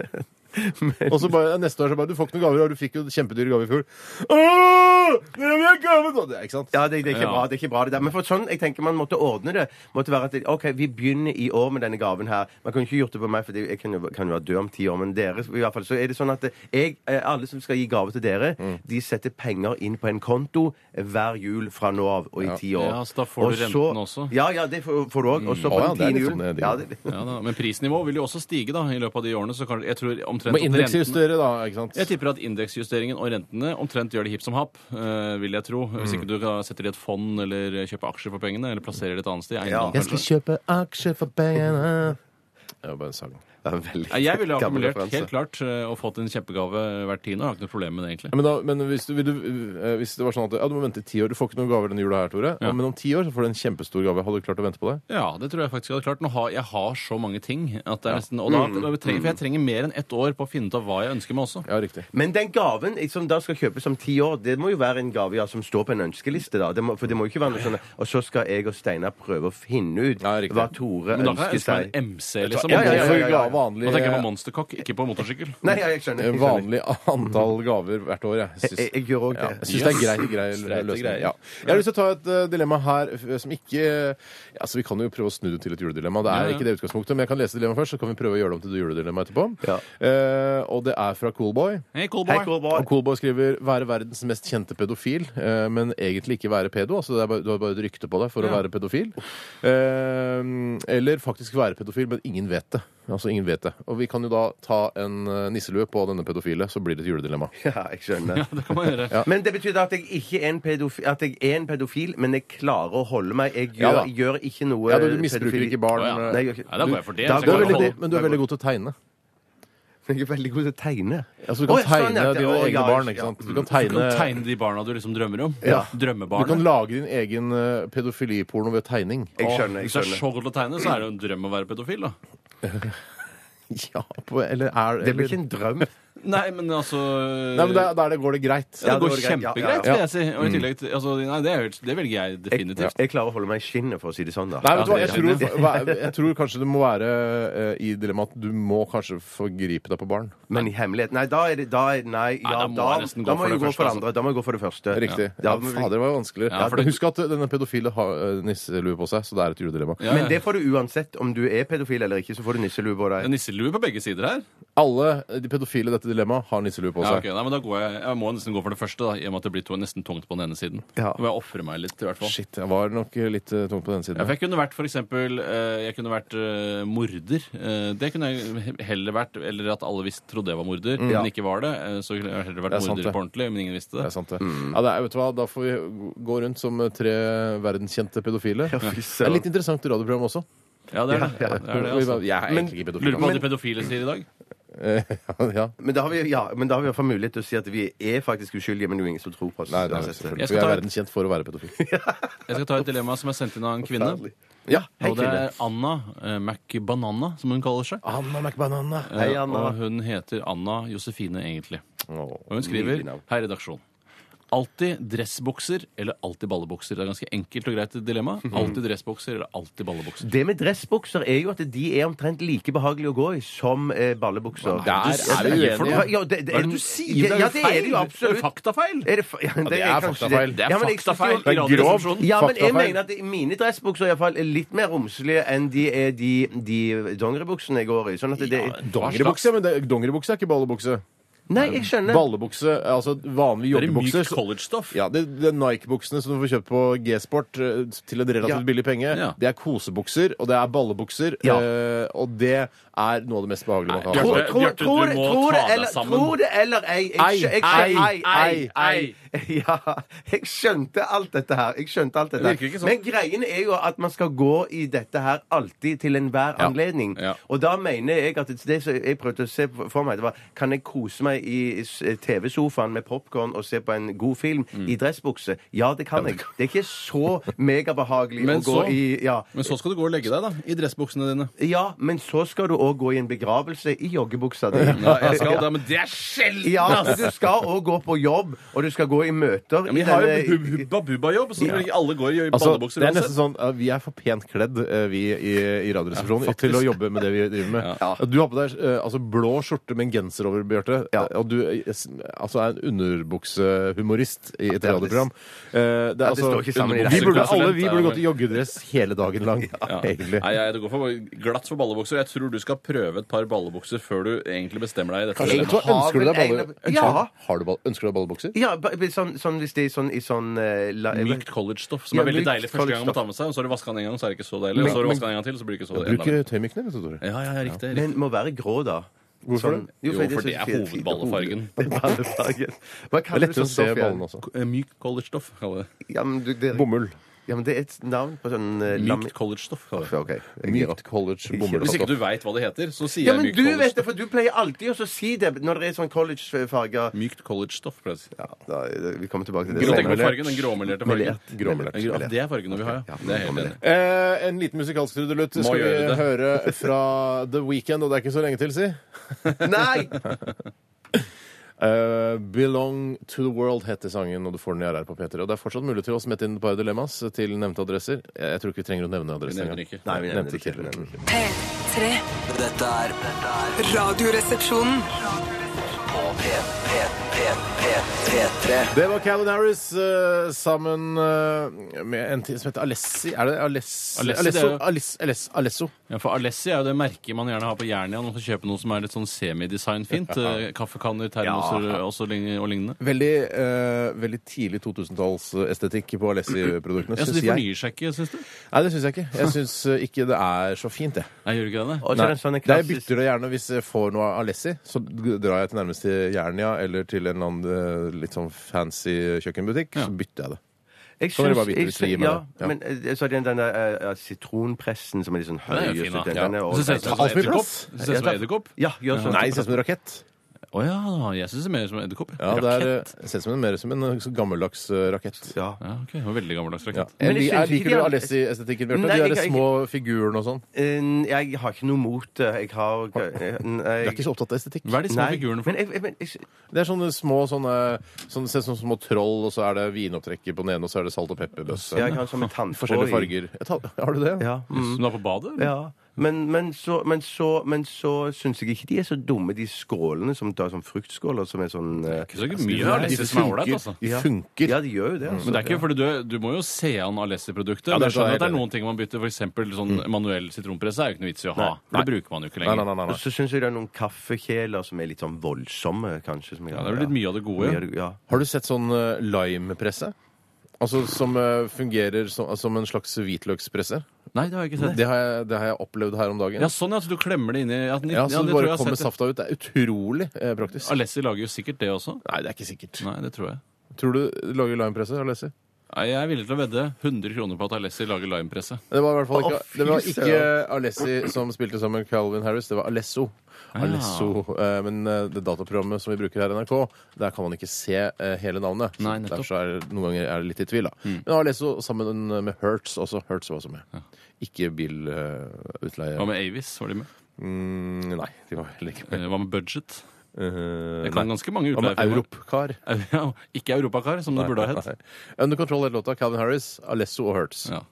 men Og så bare, neste år så bare Du får ikke noen gaver, i år, du fikk jo kjempedyre gaver i fjor. Åh, det vil jeg gave nå! Det er- Ikke sant? ja, det, det, er ikke Ja. bra, det er ikke bra det der. Men for sånn, jeg tenker man måtte ordne det. Måtte være at det- OK, vi begynner i år med denne gaven her. Man kunne ikke gjort det på meg, for jeg kan jo, kan jo være død om ti år. Men dere i hvert fall, så er det sånn at jeg, eh, alle som skal gi gave til dere, Mm. de setter penger inn på en konto hver jul fra nå av og i ti år. Ja, så da får du Og så- renten også. Ja, ja, det får, får du òg. Og Å, så på ja, den det er tiende litt julen. sånn, eh, Ja, deal. det, Ja, da. Men prisnivået vil jo også stige da, i løpet av de årene. Så kanskje, jeg tror omtrent Du må at renten- indeksjustere, da. ikke sant? Jeg tipper at indeksjusteringen og rentene omtrent gjør det hipp som happ, eh, vil jeg tro. Hvis ikke du kan- setter det i et fond eller kjøper aksjer for pengene, eller plasserer det et annet sted. eiendom, Ja. kanskje. kjøpe aksjer for pengene Det var bare en sang. det er en veldig Nei, Jeg ville ha gammel akkumulert referanse. helt klart eh, og fått en kjempegave hvert tiende. Jeg har ikke noe problem med det, egentlig. Ja, Men, da, men hvis, du, vil du, eh, hvis det var sånn at ja, du må vente i ti år Du får ikke noen gaver denne jula her, Tore. Ja. Men om ti år så får du en kjempestor gave. Hadde du klart å vente på det? Ja, det tror jeg faktisk jeg hadde klart. Nå har, jeg har så mange ting at det er nesten og da, jeg trenger, For jeg trenger mer enn ett år på å finne ut av hva jeg ønsker meg også. Ja, riktig. Men den gaven som da skal kjøpes om ti år, det må jo være en gave ja, som står på en ønskeliste, da. Det må, for det må jo ikke være noe sånn Og så skal jeg og Steinar prøve å finne ut Ja, riktig. hva Tore Men da kan jeg ønsker ønske meg seg. en MC, liksom. Ja, ja, ja, ja, ja, ja, vanlig Nå tenker jeg på monsterkokk, ikke på motorsykkel. Nei, ja, jeg skjønner. eh, Jeg, skjønner. vanlig antall gaver hvert år. Jeg jeg, syns, jeg gjør òg ja, det. jeg syns det er grei, grei løsning. greier. Ja. Jeg har lyst til å ta et eh, dilemma her eh, som ikke ja, så Vi kan jo prøve å snu det til et juledilemma. Det Ja, er ja. ikke det utgangspunktet, men jeg kan lese dilemmaet først, så kan vi prøve å gjøre det om til et juledilemma etterpå. Ja. Eh, og det er fra Coolboy. Hei, Hei, Coldboy. Kårborg. Og Coolboy skriver 'være verdens mest kjente pedofil', eh, men egentlig ikke være pedo. altså det er bare, Du har bare et rykte på deg for å Ja. være pedofil. Eh, eller faktisk være pedofil, men ingen vet det. Altså ingen vet det. Og vi kan jo da ta en eh, nisselue på denne pedofile, så blir det et juledilemma. Ja, jeg skjønner. Ja, det kan man gjøre. Men det betyr da at jeg ikke er en pedofil, at jeg er en pedofil, men jeg klarer å holde meg. Jeg Ja gjør, da. gjør ikke noe Ja, du, du misbruker Eh, pedofili- ikke barn. Å, ja. eh, Nei, jeg, gjør Nei, da går jeg for det. så Da jeg du er klarer å veldig holde- god, men du er veldig god til å tegne. ikke- jeg er veldig god til å tegne. Altså, du kan Å, ja, sånn, tegne ja. dine Å, egne ja, barn. ja. ikke sant? Du kan Du kan tegne tegne de barna du liksom drømmer om. Ja. Du kan Drømmebarn. lage din egen eh, pedofiliporno ved tegning. Jeg skjønner. jeg Hvis du er skjønner. så god til å tegne, så er det jo en drøm å være pedofil, da. Ja, på, eller er Det blir eller- ikke en drøm. Nei, men altså Nei, men der, der det går det greit. Ja, Ja, det det går går greit. Ja, kjempegreit, ja, Mm. vil ja. jeg si. Og i tillegg til, altså, nei, det, er, jo- det velger jeg Jeg, definitivt. jeg klarer å holde meg i skinnet, for å si det sånn. da Nei, vet du hva, Ja, jeg det er tror, hva- jeg tror kanskje det må være eh, i dilemmaet at du må kanskje forgripe deg på barn. Men i hemmelighet Nei, da er det da er, Nei, ja, da må da, jeg nesten gå da må for jeg gå det første, for det altså. andre. Da må jeg gå for det første. Riktig. Ja, Ja, men- fader, det var jo vanskeligere. Ja, for det- Men Husk at denne pedofile har eh, nisselue på seg, så det er et juledilemma. Ja, Men det får du uansett om du er pedofil eller ikke. Så får du nisselue på Det er deg. nisselue på begge sider her. Alle de pedofile i dette dilemmaet har nisselue på Ja, seg. ok, nei, men da går jeg, jeg må nesten gå for det første, da, i og med at det blir to, nesten tungt på den ene siden. Ja. Da må jeg ofre meg litt, i hvert fall. Shit, jeg var nok eh, litt eh, tung på den Ja, siden. for jeg kunne vært for eksempel, eh, jeg kunne vært eh, morder. Eh, Det kunne jeg heller vært, eller at alle visste trodde jeg var morder, men ikke var det. Eh, Så kunne jeg heller Mm. vært Det er sant, morder det. på ordentlig, men ingen visste Det det. er sant, det. Mm. Ja, det er, vet du hva, Da får vi gå rundt som eh, tre verdenskjente pedofile. fy Det søren. er litt interessant radioprogram også. Ja, det er det. Ja, ja. det, er det altså. Jeg er Men- egentlig ikke pedofil. Lurer på hva de pedofile sier i dag. altså. Ja, Men da har vi ja, men da har vi i hvert fall mulighet til å si at vi er faktisk uskyldige, men det er jo ingen som tror på oss. Nei, det er uansett. selvfølgelig. Jeg Vi skal er ta et- verdenskjent for å være pedofil. Jeg skal ta et dilemma som er sendt inn av en kvinne. Ja. Og det er Anna eh, McBanana, som hun kaller seg. Anna McBanana. Eh, Hei, Anna. Og hun heter Anna Josefine, egentlig. Åh. Og hun skriver Nydelig navn. Hei, redaksjon. Alltid dressbukser eller alltid ballebukser? Det er ganske enkelt og greit dilemma. Alltid dressbukser eller alltid ballebukser? Det med dressbukser er jo at de er omtrent like behagelige å gå i som eh, ballebukser. Der Du er sier vi det uenige. for noe? Ja, ja, det, det, Hva er det du sier? Ja, ja, det er feil. det jo absolutt. Eh, faktafeil. Er det, fa- ja, det er kanskje faktafeil. Det er Ja, men jeg synes jo- Det faktafeil i er grov. Radioresepsjonen. Ja, men jeg Faktafeil. mener at mine dressbukser i hvert fall er litt mer romslige enn de er de, de dongeribuksene jeg går i. Sånn at det, Dongeribukse, ja, men det, dongeribukse er ikke ballebukse. Nei, jeg skjønner. Ballebukse, altså vanlige Det er joggebukser. mykt collegestoff. Ja, det, det er Nike-buksene som du får kjøpt på G-Sport eh, til en relativt Ja. billig penge. Ja. Det er kosebukser, og det er ballebukser. Ja. eh, og det er noe av det mest behagelige man kan ha. Nei, Tror, Bjarte, tror, Bjarte, du tror, må tror, ta det deg eller, sammen. tror det eller ei jeg, Ei, skjø- jeg, ei, ei, Ja, jeg skjønte alt dette her. Jeg skjønte alt dette Det her. virker ikke sånn. Men greien er jo at man skal gå i dette her alltid til enhver anledning. Ja. Og da mener jeg at det som jeg prøvde å se for meg, det var kan jeg kose meg i s- eh, TV-sofaen med popkorn og se på en god film Mm. i dressbukse? Ja, det kan jeg. Det er ikke så megabehagelig Men å gå så- i ja. Men så skal du gå og legge deg, da. I dressbuksene dine. ja, men så skal du òg gå i en begravelse i joggebuksa di. Ja, jeg skal det, men det er sjelden! Ja, men du skal òg gå på jobb, og du skal gå i møter. Ja, men i jeg har denne- jo hubba-bubba-jobb, så ikke alle går i Altså, ballebukser det er nesten sånn eh, Vi er for pent kledd, eh, vi i, i Radioresepsjonen, Ja, faktisk. til å jobbe med det vi driver med. Du har på deg eh, altså, blå skjorte med en genser over, Bjarte, Ja. og du eh, s- altså, er en underbuksehumorist i et det er- radioprogram. Eh, det, er det står ikke sammen i vi burde, regnestykket. alle vi burde gått i joggedress hele dagen lang, egentlig. Nei, jeg, det går for glatt for ballebukser. Jeg tror du skal prøve et par ballebukser før du egentlig bestemmer deg. i dette Vet du hva, dilemmaet. har ønsker du deg vel balle... en- Ja. Har- Har du ball... Ønsker du deg ballebukser? Ja, ba- ba- sånn, sånn hvis det er sånn i sånn eh, la, Mykt collegestoff, som Ja, er veldig mykt deilig første gang man collegestoff. tar med seg. Og så har du vaska den en gang, så er det ikke så deilig. Og så har du vaska den en gang til, så blir det ikke så Bruk deilig. tøymykne, vet du, Tore. Ja, ja, ja, riktig, riktig. Men må være grå, da. Sånn- Hvorfor det? Jo, fordi for det så er fint- hovedballefargen. Det er ballefargen. Hva Det er kaller du lettere å se sånn stoff igjen? ballene også. Eh, Mykt collegestoff, kaller jeg det. Ja, men du, det, Bomull. ja, men det er et navn på sånn eh, lam- Mykt collegestoff. kaller jeg det. Ja, OK. Jeg gir Mykt opp. college Hvis ikke bomull. du veit hva det heter, så sier Ja, jeg men mykt du vet det, collegestoff. for du pleier alltid også å si det når det er sånn collegefarger. Mykt collegestoff. pleier jeg å si. Ja, da, vi kommer tilbake til det. Du tenker på senere. fargen, den gråmelerte fargen. Melert. Gråmelert. Ja, Det er fargene vi har, ja. Det er jeg helt enig. i. Eh, en liten musikalsk trudelutt skal vi gjøre det. høre fra The Weekend, og det er ikke så lenge til, si. Nei! Eh, 'Belong to the World' heter sangen, og du får den i RR på P3. Og det er fortsatt mulig til å smette inn et par dilemmas til nevnte adresser. Jeg, jeg tror ikke vi trenger å nevne adresser nevner engang. ikke. Nei, vi nevner Nevnte ikke. ikke. P3. Dette er dette er Radioresepsjonen. på P, P, P, P, P3. Det var Calvin Harris eh, sammen eh, med en til som heter Alessi. Er det Aless... Alessi, det er Alesso? jo- Aless- Aless- Alesso. Ja, for Alessi er jo det merket man gjerne har på Jernia når man skal kjøpe noe som er litt sånn semidesignfint. eh, Kaffekanner, termoser Ja. og så lign- og lignende. Veldig, eh, veldig tidlig 2000-tallsestetikk på Alessi-produktene, Ja, så syns de jeg. fornyer seg ikke, syns du? Nei, det syns jeg ikke. Jeg syns ikke det er så fint, jeg. Nei, gjør ikke det det? Og så Nei. er det en sånn Det er klassisk bytter det gjerne hvis jeg får noe av Alessi. Så g- drar jeg til nærmest til Jernia eller til en eller annen eh, litt sånn fancy kjøkkenbutikk, Ja. så bytter jeg det. Jeg Kan dere bare syns- vite jeg hvis dere syns- gir meg ja, det? Ja. Men eh, så er det den der eh, sitronpressen som er litt sånn høy. Den er og jo så- fin, da. den er sånn- Ja. Så ser det ut som Ta en fyr, edderkopp. ass. Det ser ut som en edderkopp. Ja, gjør sånn. Nei, det ser ut som en rakett. Å ja, jeg syns det er mer som en edderkopp. Ja, det er, Rakett. eh, ser ut som en, mer som en eh, så gammeldags eh, rakett. Ja. Ja, ok, det var Veldig gammeldags Ja. rakett. Jeg, Men jeg liker- synes jeg liker ikke de jo er- Alessi-estetikken, Bjørte. De Nei, jeg der liker- jeg- små figurene og sånn. Eh, Jeg har ikke noe mot det. Jeg har eh, Du er ikke så opptatt av estetikk? Hva er de små figurene for? Men jeg, jeg, men jeg, Det er sånne små sånne, sånne, ser ut som små troll, og så er det vinopptrekker på den ene, og så er det salt og pepperbøsse. jeg har sånn med tanntråd i. Forskjellige farger. Jeg tar, har du det? Ja. Mm. Som du har på badet? eller? Ja. Men, men så, men så, men så syns jeg ikke de er så dumme, de skålene som tar sånn fruktskåler som er sånn eh, Ikke så mye av Alessi som er ålreit, altså. De Ja. funker. Ja, de gjør jo det. Altså. Men det er ikke, fordi du, du må jo se an Alessi-produktet. Ja, men det jeg skjønner er at det er det. noen ting man bytter. F.eks. sånn manuell sitronpresse er jo ikke noe vits i å ha. For det bruker man jo ikke Nei, lenger. nei, nei, Og nei. så syns jeg det er noen kaffekjeler som er litt sånn voldsomme, kanskje. Som jeg, Ja, det er vel litt mye av det gode. Mye Ja. av det- ja. Har du sett sånn eh, limepresse? Altså som eh, fungerer som, som en slags hvitløkspresse? Nei, det har jeg ikke sett. Det har, jeg, det har jeg opplevd her om dagen. Ja, sånn, ja. Så du klemmer det inn i ja, den- Ja, så ja, det det tror bare jeg jeg kommer har sett. safta ut. Det er utrolig eh, praktisk. Alessi lager jo sikkert det også. Nei, det er ikke sikkert. Nei, det tror jeg. Tror du du lager limepresse, Alessi? Nei, Jeg er villig til å vedde 100 kroner på at Alessi lager limepresse. Det var i hvert fall ikke, Å, fy det var ikke søren. Alessi som spilte sammen med Calvin Harris, det var Alesso. Alesso. Eh, Men eh, det dataprogrammet som vi bruker her i NRK, der kan man ikke se eh, hele navnet. Så Nei, nettopp. Mm. Derfor så er det, noen ganger er det litt i tvil. da. Men Alesso sammen med Hertz også. Hertz var også med. Ikke bilutleie. Hva med Avis? Var de med? Mm, nei, de var heller ikke med. Eh, Hva med Budget? Eh, Jeg kan nei. ganske mange Hva med utleiefirmaer. Europcar? Ja, ikke Europakar, som det burde ha hett. Nei. Under Control het låta Calvin Harris, Alesso og Hertz. Ja,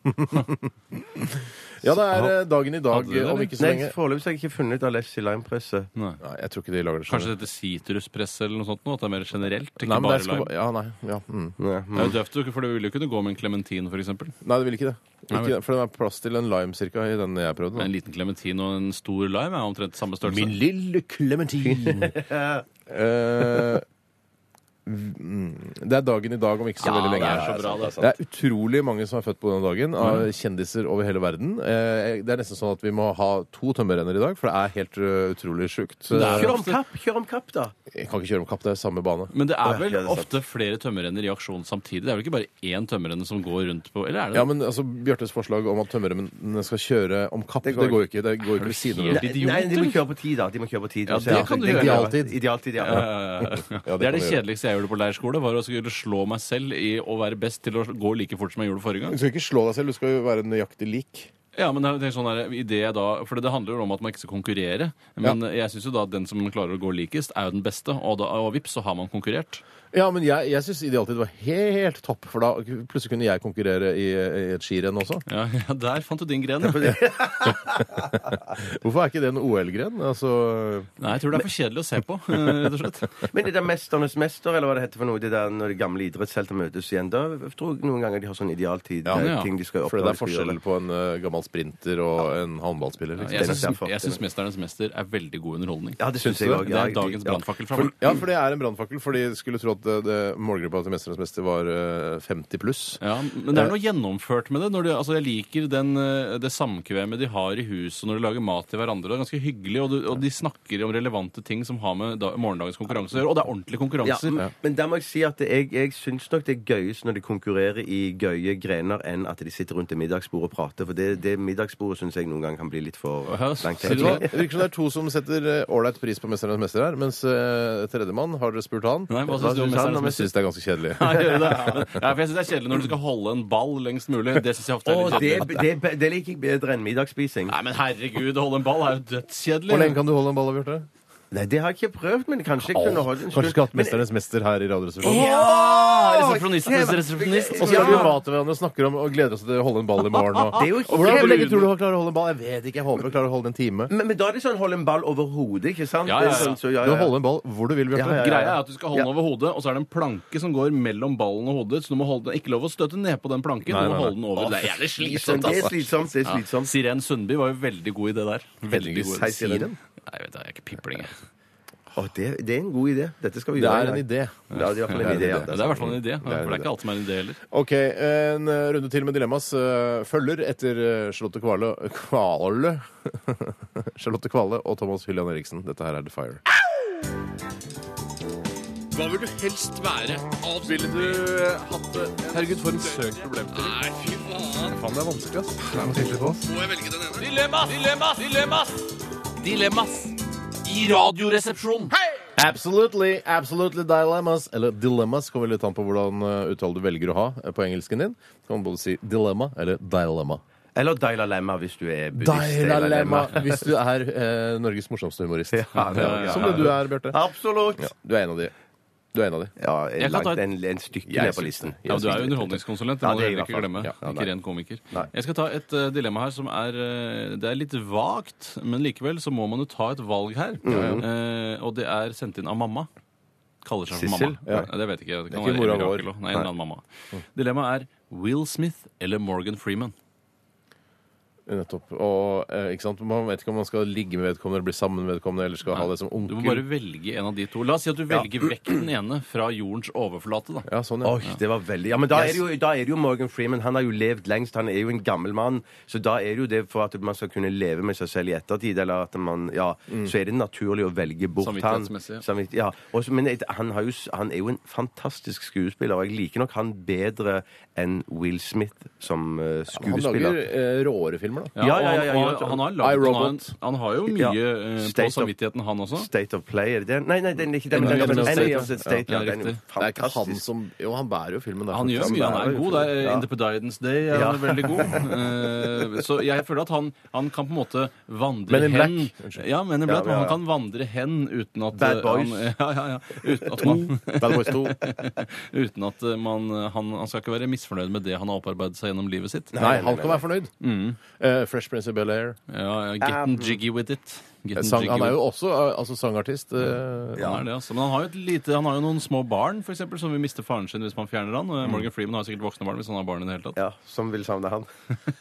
Ja. det er eh, dagen i dag Hadde dere det, om eller? ikke så Nei, lenge. foreløpig så har jeg ikke funnet Alessi Lime-presse. Nei. Nei, jeg tror ikke de lager det Kanskje sjøl. dette sitruspress eller noe sånt? Noe, at det er mer generelt? Ikke Nei, men bare det lime? skal, ja, nei, ja, mm. Nei, Det er jo døvt, for det ville jo kunne gå med en klementin, f.eks. Nei, det vil ikke det. Nei, Ikke, vel. det, for den er plass til en lime cirka i den jeg prøvde. En da. liten klementin og en stor lime er omtrent samme størrelse. Min lille clementin. Eh, mm, det er dagen i dag om ikke så Ja, veldig det lenge. er så bra, det. altså. Det er utrolig mange som er født på denne dagen, av kjendiser over hele verden. Eh, det er nesten sånn at vi må ha to tømmerrenner i dag, for det er helt eh, utrolig sjukt. Eh, Kjør om kapp! Kjør om kapp, da! Jeg kan ikke kjøre om kapp, det er samme bane. Men det Å, ja, er vel ja, det er sant. ofte flere tømmerrenner i aksjon samtidig? Det er vel ikke bare én tømmerrenne som går rundt på Eller er det Ja, men altså, Bjørtes forslag om at tømmerrennene skal kjøre om kapp, det Det går, går jo ikke. Det går jo ikke ved siden av helt hverandre. Nei, nei, de må kjøre på tid, da. De må kjøre på tid. Ja, Og så- det kan du gjøre. Idealtid. Idealtid, ja. Eh, Ja, det det er det kan du gjøre. kjedeligste jeg gjorde på leirskole. Var å skulle slå meg selv i å være best til å gå like fort som jeg gjorde forrige gang. Du skal ikke slå deg selv, du skal jo være nøyaktig lik. Ja, men jeg tenker sånn her, i det jeg da, for det handler jo om at man ikke skal konkurrere. Men jeg syns jo da at den som klarer å gå likest, er jo den beste. Og, da, og vips, så har man konkurrert. Ja, men jeg, jeg syns idealtid var helt topp, for da plutselig kunne jeg konkurrere i, i et skirenn også. Ja, ja Der fant du din gren. ja. Hvorfor er ikke det en OL-gren? Altså, Nei, jeg tror det er for kjedelig å se på, eh, rett og slett. Men det der Mesternes mester, eller hva det heter for noe, det der når de gamle idrettshelter møtes igjen, da tror jeg noen ganger de har sånn idealtid. Ja, det er ja. ting de skal fordi oppdage. det er de skal forskjell gjøre. på en eh, gammel sprinter og en håndballspiller. Jeg Liksom. det er syns- derfor. jeg syns 'Mesternes mester' er veldig god underholdning. Ja, det syns Syns jeg du òg. Det er dagens brannfakkel fra For, meg. ja, for det er en brannfakkel, for de skulle tro at det, det, målgruppa til 'Mesternes mester' var eh, 50 pluss. Ja, men det er noe gjennomført med det. Når de, altså jeg liker den, eh, det samkvemmet de har i huset når de lager mat til hverandre. Det er ganske hyggelig, og, du, og de snakker om relevante ting som har med da, morgendagens konkurranse å gjøre. Og det er Ja, ordentlige mm. konkurranser. men, men der må jeg si at jeg, jeg syns nok det er gøyest når de konkurrerer i gøye grener, enn at de sitter rundt et middagsbord og prater. For det, det middagsbordet syns jeg noen ganger kan bli litt for Ja, langt. sier Vet du hva? Det virker som det er to som setter eh, ålreit pris på 'Mesternes mester' her, mens eh, tredjemann, har dere spurt han? Nei, hva syns du om synes Mesternes han? Han mester? synes det er ganske kjedelig. Nei, gjør det. Ja, for jeg synes det er kjedelig når du skal holde en ball lengst mulig. Det synes jeg ofte er Og litt det, kjedelig. det, det liker jeg bedre enn middagsspising. Nei, men herregud, å holde en ball er jo Hvor lenge dødskjedelig. kan du holde en ball, Bjarte? Nei, det har jeg ikke prøvd, men kanskje jeg kunne holdt en Kanskje skulle hatt 'Mesternes mester' her i Eh, Radioresepsjonen. Ja! Resepsjonistenes resepsjonist. Og så skal vi mate hverandre og snakker om og gleder oss til å holde en ball i morgen. Og, Det er jo og hvordan hvor kjempe- lenge tror du du klarer å holde en ball? Jeg vet ikke. Jeg håper du klarer å holde en time. Men, men da er det sånn holde en ball over hodet, ikke sant? Ja, ja, ja. Det er Sånn, så, ja, Mm. Du ja. holder en ball hvor du vil, Bjarte. Ja, ja, Greia er at du skal holde den over hodet, og så er det en planke som går mellom ballen og hodet. Så du må holde den, ikke lov å støte ned på den planken. Nei, du nei, nei. må holde den over. Det er jævlig slitsomt, Sånn, Det er altså. slitsomt. Det er Ja. slitsomt. Siren Sundby var jo veldig god i det der. Veldig god. Hei, Siren. Nei, jeg vet da, jeg er ikke pipling, jeg. Å, det, det er en god idé. Dette skal vi Det gjøre. er en idé. Ja, det er i hvert fall en Det er en idé. Ja, idé. Men det er i hvert fall en idé. For en det er idé. ikke alt som er en idé heller. OK, en eh, runde til med dilemmas. eh, Følger etter eh, Charlotte Kvale Kvale Charlotte Kvale og Thomas Hyllian Eriksen. Dette her er The Fire. Hva vil du helst være? Ville du eh, hatt det? Herregud, for en søk problem til. Nei, fy faen. det er vanskelig, ass. Må jeg velge den ene? Dilemmas! Dilemmas! Dilemmas! Dilemmas! I radioresepsjonen. Absolutely, absolutely dilemmas. Eller dilemmas kommer litt an på hvordan eh, uttale du velger å ha eh, på engelsken din. Du kan både si dilemma eller dilemma. Eller Daila Lemma, hvis du er buddhist. Dilemma hvis du er eh, Norges morsomste humorist. Ja, det er- Som det du er, Bjarte. Absolutt. Ja, du er en av de. Du er en av de. Ja, Jeg kan ta langt et- en, en stykke Jeg ned på synes listen. det. Ja, men Du er jo underholdningskonsulent. Det Ja, må det du er heller i ikke hvert fall. glemme. Ja, ja, ikke nei. ren komiker. Nei. Jeg skal ta et eh, dilemma her som er eh, Det er litt vagt, men likevel så må man jo ta et valg her. Eh, og det er sendt inn av mamma. Kaller seg for Sissel? mamma. Ja. Nei, Det vet jeg ikke. Det er kan ikke være mora Emil vår. Rakel også. Nei, en eller annen mamma. Dilemmaet er Will Smith eller Morgan Freeman. Nettopp. Og, eh, ikke sant? Man vet ikke om man skal ligge med vedkommende eller bli sammen med vedkommende eller skal ha det som Du onkel. må bare velge en av de to. La oss si at du velger vekk den ene fra jordens overflate. da. Ja, sånn, ja. Oi, det var veldig Ja, men da er, det jo, da er det jo Morgan Freeman. Han har jo levd lengst. Han er jo en gammel mann. Så da er det jo det for at man skal kunne leve med seg selv i ettertid, eller at man Ja, så er det naturlig å velge bort han. Mm. Samvittighetsmessig, ja. Samvitt- ja. Også, men et- han, har jo, s- han er jo en fantastisk skuespiller, og jeg liker nok han bedre enn Will Smith som Han eh, lager skuespiller. eh, råere filmer, da. Ja, Ja, ja, og ja, ja, han, ja. har, han, har I, lagd, han, har, Robot. han har jo Ja. mye eh, State på of- samvittigheten, han også. State of Play, er det det? Nei, nei, den er ikke den. men Enemy of den- the men- State. Enemy of the State, ja. Ja, Den er jo riktig. Det er ikke han fantastisk. som Jo, han bærer jo filmen der. Han gjør faktisk. mye. Han er god. Det er Ja. Independence Day er Ja. han veldig god. Eh, Så jeg føler at han, han kan på en måte vandre Men in hen Black. Unnskyld. Ja, Men in Black, ja, men ja. han kan vandre hen uten at Bad eh, Boys. Han, ja, ja, ja. Uten at man, Bad Boys 2. uten at eh, man han, han skal ikke være misfornøyd med det han har opparbeidet seg gjennom livet sitt. Nei, han kan være fornøyd. Eh, Fresh Prince of Bel-Air. Ja, ja, Getting jiggy with it. Getting Sang, jiggy han er jo with it. også eh, altså, sangartist. eh, Han er det, altså. Men han har jo et lite, han har jo noen små barn for eksempel, som vil miste faren sin hvis man fjerner han. Eh, Morgan Freeman har sikkert voksne barn hvis han har barn i det hele tatt. Ja, som vil savne han.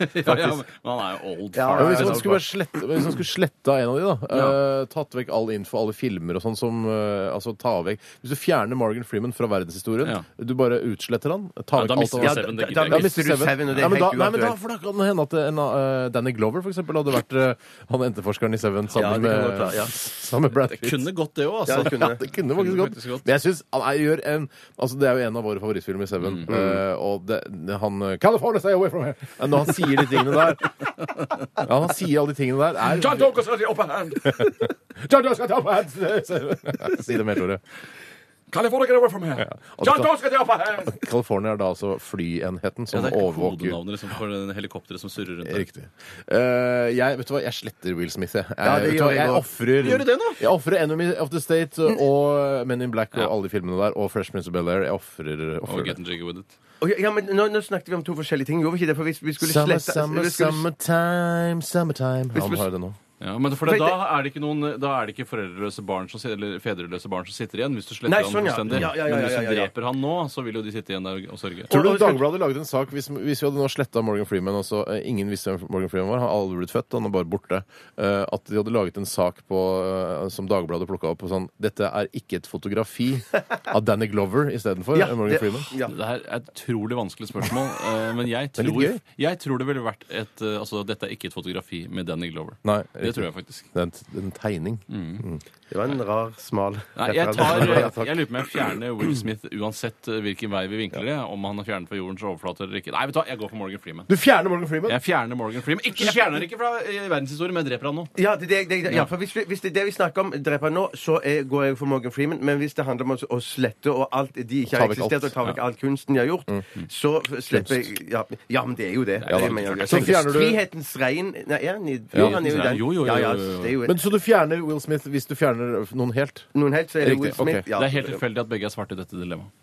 Ja, ja, men men han er jo old Ja, far. Ja, men hvis, så det man er skulle bare slette, hvis man skulle sletta en av de, da eh, Tatt vekk all info, alle filmer og sånn som eh, Altså ta vekk Hvis du fjerner Morgan Freeman fra verdenshistorien, Ja. du bare utsletter han Ta Ja, vekk alt da mister av du ja, da- Seven. Det da da gidder jeg ikke. mister du Seven, og det er ja, men da, nei, helt men da, uaktuelt. for da kan det hende at en, av, eh, Danny Glover for eksempel hadde vært eh, han etterforskeren i Seven Ja, det sammen kan godt med, være, ja. sammen med Brad Pitt. Kunne gått det òg, Ja, altså. det kunne. Ja, det kunne faktisk Kunne godt. faktisk godt. Men jeg synes, han er, gjør en, altså det er jo en av våre favorittfilmer i Seven. Mm. eh, og det, det- han eh, California, stay away from here! Eh, Når han sier de tingene der Ja, han sier alle de tingene der er, John Dokas skal til upper hand! si det med ordet. California, get away from here! John Dokas skal til upper hand! California er da altså flyenheten Ja, som det er overvåker kodenavnet liksom, for den helikopteret som surrer rundt. der. Riktig. Eh, jeg, vet du hva, jeg sletter Will Smith, jeg. Jeg, det vet du gjør hva, jeg jeg også. offrer Gjør du det nå? Jeg offrer Enemy of the State og Men in Black og alle de filmene der, og Fresh Prince of Bel-Air. Jeg offrer, Og offrer Get det. and Jiggy With It. Å, ja, ja, men nå, nå snakket vi om to forskjellige ting. Gjorde vi ikke det? For hvis vi skulle Summer, slette summer, vi skulle- summertime, summertime. Hvis Han vi- har det nå. Ja, men for det, Vet- da, er det ikke noen, da er det ikke foreldreløse barn som, sit- eller fedreløse barn som sitter igjen, hvis du sletter Nei, han sånn, ja. fullstendig. Ja, ja, ja, men hvis ja, du ja, ja. dreper han nå, så vil jo de sitte igjen der og sørge. Tror du Og- Dagbladet lagde en sak hvis, hvis vi hadde nå sletta Morgan Freeman og så eh, Ingen visste hvem Morgan Freeman var, han hadde aldri blitt født, han er bare borte. eh, at de hadde laget en sak på, eh, som Dagbladet plukka opp, og sånn Dette er ikke et fotografi av Danny Glover istedenfor Ja, eh, Morgan det- Freeman. ja. Det her er et utrolig vanskelig spørsmål, eh, men jeg er litt tror, gøy. jeg tror det ville vært et eh, Altså, dette er ikke et fotografi med Danny Glover. Nei, Det tror jeg faktisk. Det er en, en tegning. Det var en rar, smal Nei, jeg, tar, referanse. eh, jeg lurer på om jeg fjerner Will Smith uansett eh, hvilken vei vi vinkler det. Om han er fjernet fra jordens overflate eller ikke. Nei, vet du hva, jeg går for Morgan Freeman. Du fjerner Morgan Freeman? Jeg fjerner Morgan Freeman. Ikke, jeg fjerner ikke fra eh, verdenshistorien, men jeg dreper han nå. Ja, det, det, det, ja, for hvis, vi- hvis det er det vi snakker om, dreper nå, så er, går jeg for Morgan Freeman. Men hvis det handler om å, å slette og alt de ikke Ta har vekk alt. Mm. eksistert, og ta vekk all kunsten de har gjort, så slipper jeg ja, ja, men det er jo det. da. det mener jeg, Så fjerner du- Frihetens regn Nei, er han i, jo, han er jo Jo, den. jo, jo, Ja, jo, ja, jo, jo. det er jo Men Så du fjerner Will Smith hvis du fjerner noen helt? Noen helt, så er det Riktig, Will Smith. ok. Ja, Det er helt tilfeldig at begge er svarte i dette dilemmaet.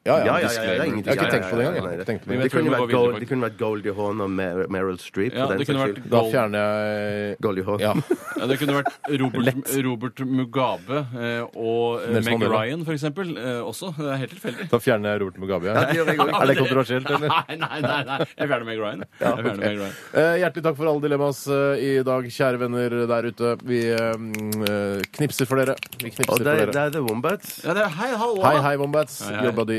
Ja, ja, ja, ja, det er ingenting. Jeg har ikke tenkt på det Ja, ja, ja, engang. ja, jeg. ja. Tenkte på Men det. Det jeg tror vi kunne må vært gå videre, Gold- det kunne vært Goldie Hawn og Mer Meryl Streep. Ja, for den det kunne saks vært skyld. Da Gold- fjerner jeg Goldie Hawn. Ja. Ja, det kunne vært Robert, Robert Mugabe eh, og eh, Nelson Meg Mandela. Ryan, for eksempel, eh, også. Det er helt tilfeldig. Da fjerner jeg Robert Mugabe. Ja. Ja, det gjør jeg også. Er det kontroversielt, eller? Nei, nei, nei. nei. Jeg fjerner Meg Ryan. Jeg fjerner Meg Ryan. Eh, hjertelig takk for alle dilemmas eh, i dag, kjære venner der ute. Vi eh, mm, eh, knipser for dere. Vi knipser Og for det, er- det dere. er The Wombats. Ja, det er, hei, hallo! Hei, hei, Wombats. Hei, hei. Your body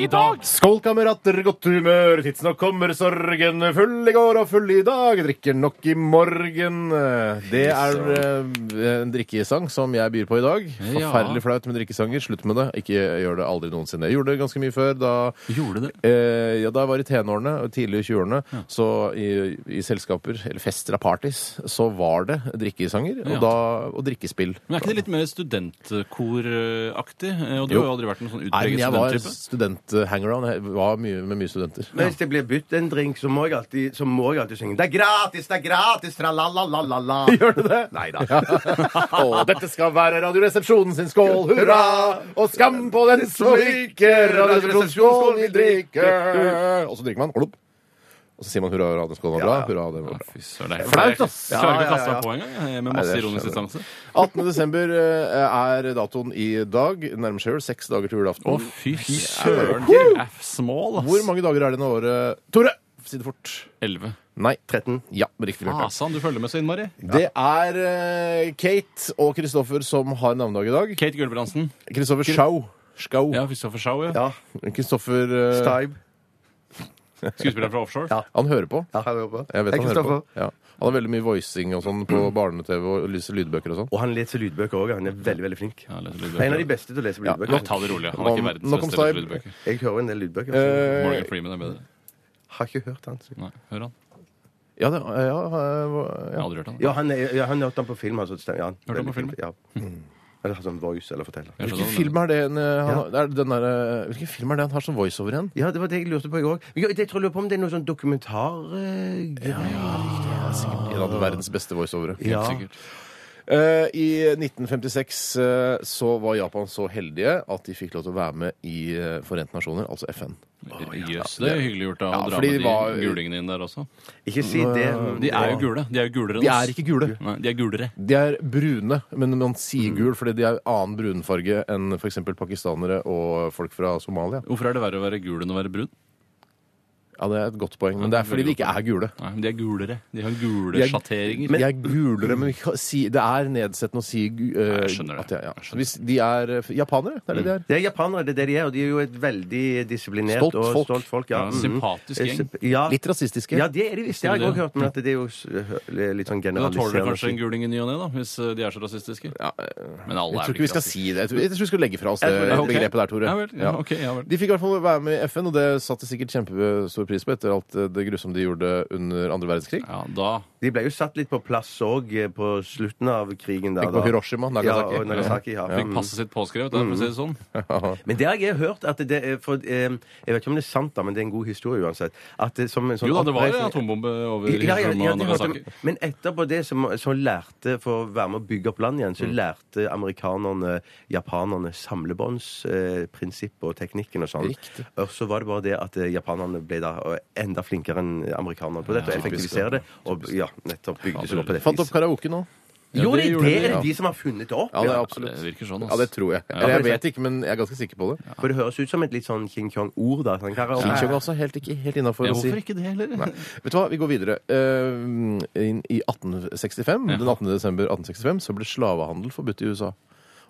I dag Skål, kamerater, godt humør. Tidsnok kommer sorgen. Full i går og full i dag. Drikker nok i morgen. Det er eh, en drikkesang som jeg byr på i dag. Ja. Forferdelig flaut med drikkesanger. Slutt med det. Ikke gjør det aldri noensinne. Jeg gjorde det ganske mye før. Da Gjorde det? Eh, ja, da jeg var i tenårene og tidlig i 20-årene, så i, i selskaper, eller fester av parties, så var det drikkesanger og, Ja. da, og drikkespill. Men er ikke det litt mer studentkoraktig? Eh, Og du Jo. har jo aldri vært noen sånn Nei, men utpreget jeg var studenttype. student-hangaround. Jeg var mye, med mye studenter. Men hvis det blir bytt en drink, så må jeg alltid, så må jeg alltid synge Det er gratis, det er gratis, tra-la-la-la-la-la. Gjør du det? Nei da. Og dette skal være Radioresepsjonen sin skål, hurra! Og skam på den som ikke Radioresepsjonen skål vi drikker! Og så drikker man, glopp. Og så sier man hurra, radioskålen var bra. Ja, ja. Hurra, det var bra. Fy søren, det er Flaut, ass. Jeg klarer Ja, ikke å ja, kaste ja. meg på engang, jeg, med Nei, masse det ironisk skjønner distanse. 18. desember eh, er datoen i dag. Nærmer seg jo seks dager til julaften. Å, fy søren! Det er small, Hvor ass. mange dager er det nå året Tore! Si det fort. Elleve. Nei. 13. Ja, riktig. Bjarte. Fasan, du følger med så innmari. Det er eh, Kate og Kristoffer som har navnedag i dag. Kate Gulbrandsen. Kristoffer Schau. Schau. Ja, Christopher Schau, ja. Ja. Kristoffer eh, Stibe. Skuespiller fra offshore. Ja. Han hører på. Ja, han hører på. Jeg vet Hei, han hører på. Kristoffer. Ja. Han har veldig mye voicing og sånn på barne-TV og lyser lydbøker og sånn. Og han leser lydbøker òg. Han er veldig veldig flink. Ja, leser En av de lydbøker. beste til å lese Nå, lydbøker. ta det rolig. Han er ikke Nok om- verdens nok om beste til å Stipe. lese lydbøker. Jeg hører en del lydbøker. så Eh, Morgan Freeman er bedre. Har ikke hørt han. så- Nei, hør han. ja, det, ja, eh, Jeg ja. har aldri hørt han. Ja, han, er, ja, han hørte han på film. Altså, det stemmer. ja, han, Hørte han på film? Ja. Eller har sånn voice eller forteller. Jeg skjønner Hvilken hva du film mener. er det en, eh, han, har- er det den der, eh, Hvilken film er det han har som voiceover igjen? Ja, det var det jeg lurte på, jeg òg. Jeg tror jeg lurer på om det er noe sånn eh, dokumentargreier. En av verdens beste voiceovere. Ja. Helt sikkert. Eh, I 1956 eh, så var Japan så heldige at de fikk lov til å være med i eh, Forente nasjoner, altså FN. Jøss, det er hyggelig gjort av Ja, å dra fordi med de de var- gulingene inn der også. Ikke si det. De er jo gule. De er jo gulere enn De oss. er ikke gule. Nei, de er gulere. De er brune, men man sier gul fordi de er annen brunfarge enn f.eks. pakistanere og folk fra Somalia. Hvorfor er det verre å være gul enn å være brun? Ja, Det er et godt poeng, men det er fordi de ikke er gule. Nei, men De er gulere. De har De gule er- sjatteringer. De er gulere, men vi kan si, det er nedsettende å si gu- eh, Jeg skjønner det. at jeg- ja. Jeg skjønner. Hvis de er eh, japanere, det er det de er. Det er japanere, det er det de er. Og de er jo et veldig disiplinert Stolt og folk. stolt folk. Ja. Ja, Mhm. sympatisk gjeng. Symp- Ja, Litt rasistiske. ja, det er de visst. Det har jeg Det er òg det. hørt. Men at det er jo s- hø- litt sånn Da tåler du kanskje en generaliserende. guling i ny og ne, da, hvis eh, de er så rasistiske. altså. Ja, eh, Men alle jeg er tror ikke vi skal rasistiske. si det. Jeg tror, jeg tror vi skal legge fra oss det Jeg tror det. Ok. begrepet der, Tore. Ja vel. Ja, ok, ja vel. De fikk i hvert fall være med i FN, og det satte sikkert kjempestor pris på etter alt det grusomme de gjorde under andre verdenskrig. Ja, da De ble jo satt litt på plass òg på slutten av krigen. Der, Tenk på da. Hiroshima, Nagasaki. Ja, og Nagasaki ja. fikk Mhm. passet sitt påskrevet. Der, for å si det sånn. Men det har jeg hørt at det er for, eh, Jeg vet ikke om det er sant, da, men det er en god historie uansett. At det, som en sånn Jo da, det var en oppreisning- atombombe over Ja, ja, Hiroshima ja, og det hørte Nagasaki. jeg. Men etterpå det så, må- så lærte For å være med å bygge opp land igjen, Mm. så lærte amerikanerne japanerne samlebåndsprinsippet eh, prinsipp og teknikken og sånn. Og så var det bare det at eh, japanerne ble da eh, enda flinkere enn amerikanerne på dette og effektivisere det. Og ja, nettopp bygde seg opp på det Fant opp viset. karaoke nå. Jo, det, gjorde det de, er ja. det de som har funnet det opp. Ja, det er ja. Det absolutt. virker sånn, Ja, det altså. tror jeg. Eller jeg vet ikke, men jeg er ganske sikker på det. For det høres ut som et litt sånn King Kong-ord. da. Sånn, karaoke. King Kong er også helt, ikke helt innafor Ja, å si. hvorfor ikke det heller? Nei. Vet du hva, vi går videre. Eh, inn I 1865, den 18. desember 1865 så ble slavehandel forbudt i USA.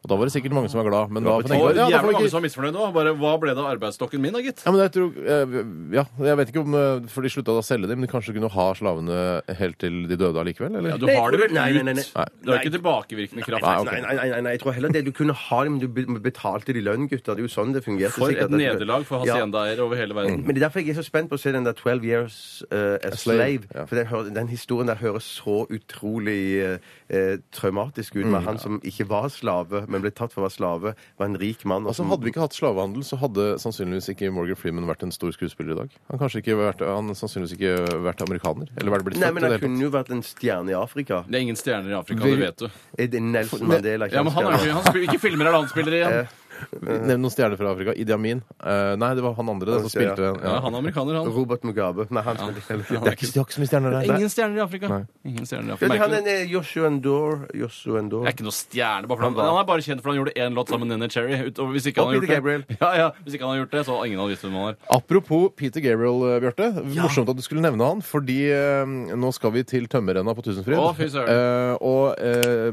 Og da var det sikkert mange som var glad, men da Og tenker jeg, ja, da jævla får mange vi ikke som var misfornøyd nå. Bare, hva ble det av arbeidsstokken min, da, gitt? ja, men jeg, tror, eh, ja, jeg vet ikke om eh, For de slutta da å selge dem, men de kanskje kunne ha slavene helt til de døde allikevel? Eller? Ja, du har det vel ut. Nei, nei, nei, nei. Det er ikke tilbakevirkende kraft. Nei, ok. Nei, nei, nei, nei, jeg tror heller det. Du kunne ha dem, du be- betalte de lønn, gutter. Det er jo sånn det fungerte. For sikkert. et nederlag for haciendaeiere over hele verden. Men det er derfor jeg er så spent på å se den der 12 Years eh, a Mm. slave, Slave. ja. For den, hører, den historien der høres så utrolig eh, traumatisk Mm, ut. Med han som ikke var slave, men ble tatt for å være slave, var en rik mann. og Altså, som- hadde vi ikke hatt slavehandel, så hadde sannsynligvis ikke Morgan Freeman vært en stor skuespiller i dag. Han kanskje ikke vært, han sannsynligvis ikke vært amerikaner. Eller vært blitt Nei, men født i han det hele kunne jo vært en stjerne i Afrika. Det er ingen stjerner i Afrika, det vet du. Er det Nelson Mandela. ikke Ja, men han er jo ikke, han spiller, ikke filmer er det han spiller igjen. tatt. Nevn noen stjerner fra Afrika. Idi Amin. Eh, nei, det var han andre det, som Ja. spilte Ja, ja. han er amerikaner, han. Robert Mugabe. Nei, han spiller Det er ikke. ikke, det er ikke så mye stjerner der. Ingen stjerner i Afrika. Ingen stjerner i Ja, Afrika. Han Merkelig. er en, eh, Joshua Endor. Joshua Endor. Det er ikke noe stjerne. Bare for han, han er bare kjent for han gjorde én låt sammen med Nene Cherry. Utover, hvis, ikke Og han hadde Peter gjort det. Ja, ja, hvis ikke han hadde gjort det, så hadde ingen hadde visst hvem han var. Apropos Peter Gabriel, eh, Bjarte. Morsomt at du skulle nevne han, fordi eh, nå skal vi til tømmerrenna på Tusenfryd. Å, fy søren. Eh, og eh,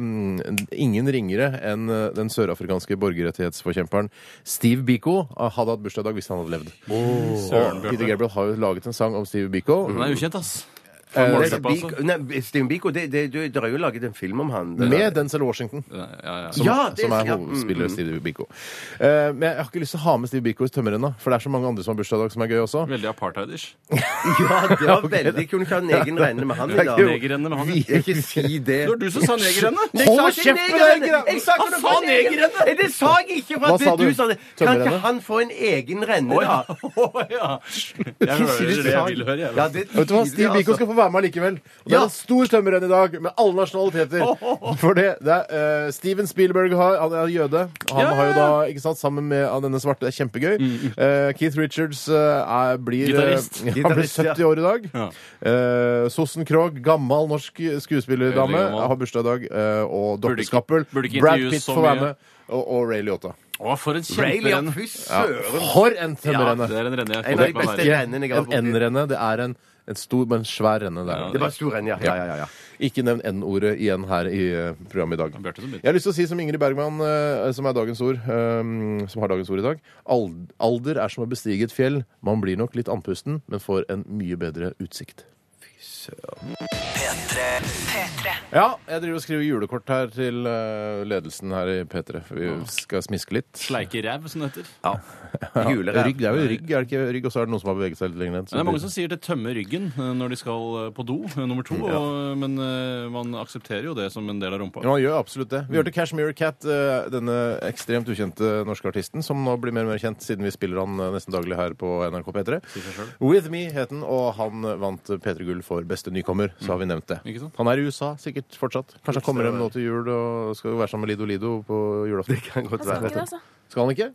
ingen ringere enn eh, den sørafrikanske borgerrettighetsforkjemperen Steve Biko eh, hadde hatt bursdag i dag hvis han hadde levd. Og Søren, Bjarte. Mm, Peter Gabriel har jo laget en sang om Steve Biko. Han er ukjent, ass. Eh, Morgan- Nei, Biko- Nei, Steven Biko, det, det, det, det er jo laget en film om han. Det- Med Denzel Washington, Ja, ja, ja. som, Ja, det- som er ja, hovedspiller mm, mm. Steve Biko. Eh, men jeg har ikke lyst til å ha med Steve Biko i Tømmerrenna, for det er så mange andre som har bursdag i dag som er gøy også. Veldig apartheidish. Ja, det var veldig Kunne ikke ha en egen renne med han i dag. Negerrenne med han. ja. Jeg ikke si det. Det var du som sa negerrenne! Hold Jeg sa ikke kjeft med deg, negerrenne! Gira! Jeg sa ikke Han noe sa om negerrenne! negerrenne! Eh, Det sa jeg ikke! For Hva at sa du? du? sa det. Kan ikke Tømmerrenne? han få en egen renne, da? Å, ja. Jeg hører det jeg vil høre. Jeg. Ja, det er Vet du hva, tydelig, Steve Biko altså. skal få være med likevel. Og det Ja. er en stor tømmerrenn i dag, med alle nasjonaliteter. For det, det er eh, Steven Spielberg har, han er jøde. Han har jo da, ikke sant, sammen med han denne svarte, det er kjempegøy. Mm, Eh, Keith Richards eh, er, blir eh, Gitarist. Han blir Gitarist, ja. 70 år i dag. Ja. Eh, Sossen Krogh, gammel norsk skuespillerdame, Veldig gammel. har bursdag i dag. eh, og Burde Dr. ikke- Skappel. burde ikke Brad intervjues Pitt så får være mye. med. Og, og Ray Liotta. Å, for en Bailey, ja, kjemperenne! fy søren! For en Ja, tømmerrenne! det er en renne En jeg av de kunne tenkt meg å beste være. rennene jeg har en vært borti. N-renne. Det er en, en stor, men svær renne. Der. Ja, Det var stor renne, ja. Ja, ja, ja, ja. Ikke nevn N-ordet igjen her i eh, programmet i dag. Bjarte som begynte. Jeg har lyst til å si som Ingrid Bergman, eh, som, er dagens ord, eh, som har dagens ord i dag. Ald- Alder er som å bestige et fjell. Man blir nok litt andpusten, men får en mye bedre utsikt. P3 P3. Ja, jeg driver og skriver julekort her til eh, ledelsen her i P3. for Vi skal smiske litt. Sleike ræv, som det heter. Julerev. Rygg, det er jo rygg, er det ikke rygg? Og så er det noen som har beveget seg litt lenger ned. Men Det er mange som sier det tømmer ryggen eh, når de skal eh, på do, eh, nummer to. Og, men eh, man aksepterer jo det som en del av rumpa. Ja, han gjør absolutt det. Vi hørte Cashmere Cat, eh, denne ekstremt ukjente norske artisten, som nå blir mer og mer kjent siden vi spiller han eh, nesten daglig her på NRK P3. With Me het den, og han vant P3 Gull for beste nykommer, så har vi nevnt det. Ikke sant? Han er i USA sikkert fortsatt. Kanskje han kommer hjem nå til jul og skal være sammen med Lido Lido på julaften. Det kan godt Jeg skal være. ikke det, altså. Skal han ikke?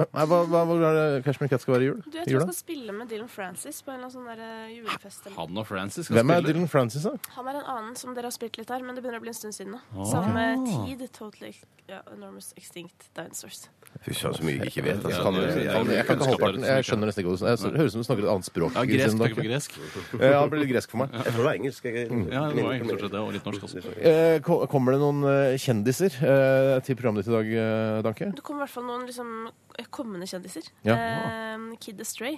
Nei, hva, hva, hvor er det Cashmere Cat skal være i jul? Du, jeg I tror jeg jula? skal spille med Dylan Francis på en eller annen sånn der eh, julefest. Eller. Han og Francis skal Hvem er spille. Dylan Francis, da? Han er en annen som dere har spilt litt her, men det begynner å bli en stund siden nå. Ah. Sammen med Tid, Totally ja, Enormous Extinct Dinosaurs. Fy søren, så mye jeg ikke vet. Jeg altså. kan, jeg, det- kan, jeg kan ikke halvparten. Jeg skjønner nesten ikke hva du sier. Det høres ut som du snakker et annet språk. Ja, gresk, Kristine, takk for da. gresk. Ja, det blir litt gresk for meg. Jeg tror det var engelsk. jeg- Ja, det var egentlig stort sett det, og litt norsk også. Eh, ko- kommer det noen eh, kjendiser eh, til programmet ditt i dag, eh, Danke? Det kommer i hvert fall noen liksom, kommende kjendiser. Ja. Eh, Kid Astray.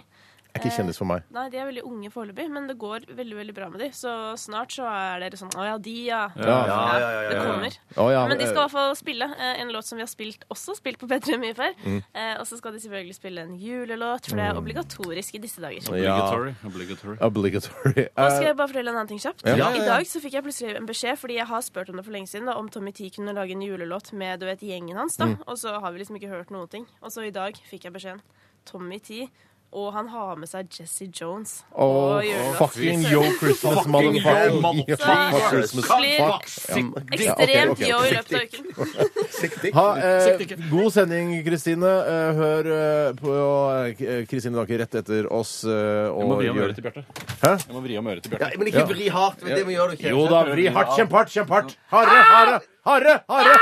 Er ikke kjendis for meg. Nei, de er veldig unge foreløpig, men det går veldig veldig bra med de. Så snart så er dere sånn Å ja, de, ja. Ja, ja, ja, Det ja, ja. kommer. Å, ja, Men de skal i eh, hvert fall spille eh, en låt som vi har spilt også spilt på P3 mye før. Eh, Og så skal de selvfølgelig spille en julelåt, for det er obligatorisk i disse dager. Obligatory. obligatory. Obligatory. Nå Eh, skal jeg bare fortelle en annen ting kjapt. Ja, ja, ja. I dag så fikk jeg plutselig en beskjed, fordi jeg har spurt om det for lenge siden, da, om Tommy Tee kunne lage en julelåt med du vet, gjengen hans. da. Mm. Og så har vi liksom ikke hørt noen ting. Og så i dag fikk jeg beskjeden. Tommy Tee. Og han har med seg Jesse Jones. oh, og julelåt. fucking yo Christmas, yo, motherfucker. motherfucker. Fuck Christmas. Blir Fuck. Ja, ok, ok, ekstremt ok. yo i løpet av uken. Ha, eh, god sending, Kristine. Eh, hør eh, på eh, Kristine Danke rett etter oss. Eh, Jeg må og vri om gjør- øret til Bjarte. Hæ? Jeg må vri om øret til Ja, Bjarte. men ikke vri hardt. men Det må gjøre du ikke. Ah! Jo da, vri hardt, kjempehardt, kjempehardt. Harde, harde, harde! harde.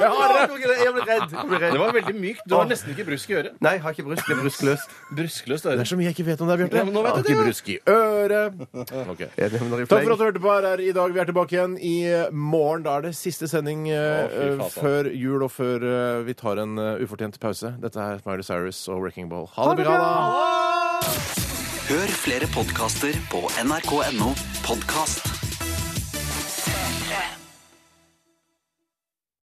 Jeg har det! Jeg ble redd. Jeg ble Det redd. var veldig mykt. Du har nesten ikke brusk i øret. Nei, jeg har ikke bryst. Det er brystløst. Bruskløst øre. Det er så mye jeg ikke vet om deg, Bjarte. Ja, men nå vet Har jeg det, ikke ja. brusk i øret. Ok. Jeg nevner i Takk for fleng. at du hørte på her i dag. Vi er tilbake igjen i eh, morgen. Da er det siste sending eh, Å, fy faen. altså. før jul og før eh, vi tar en eh, ufortjent pause. Dette er Miley Cyrus og Wrecking Ball. Ha det bra! da! Hør flere podkaster på nrk.no podkast.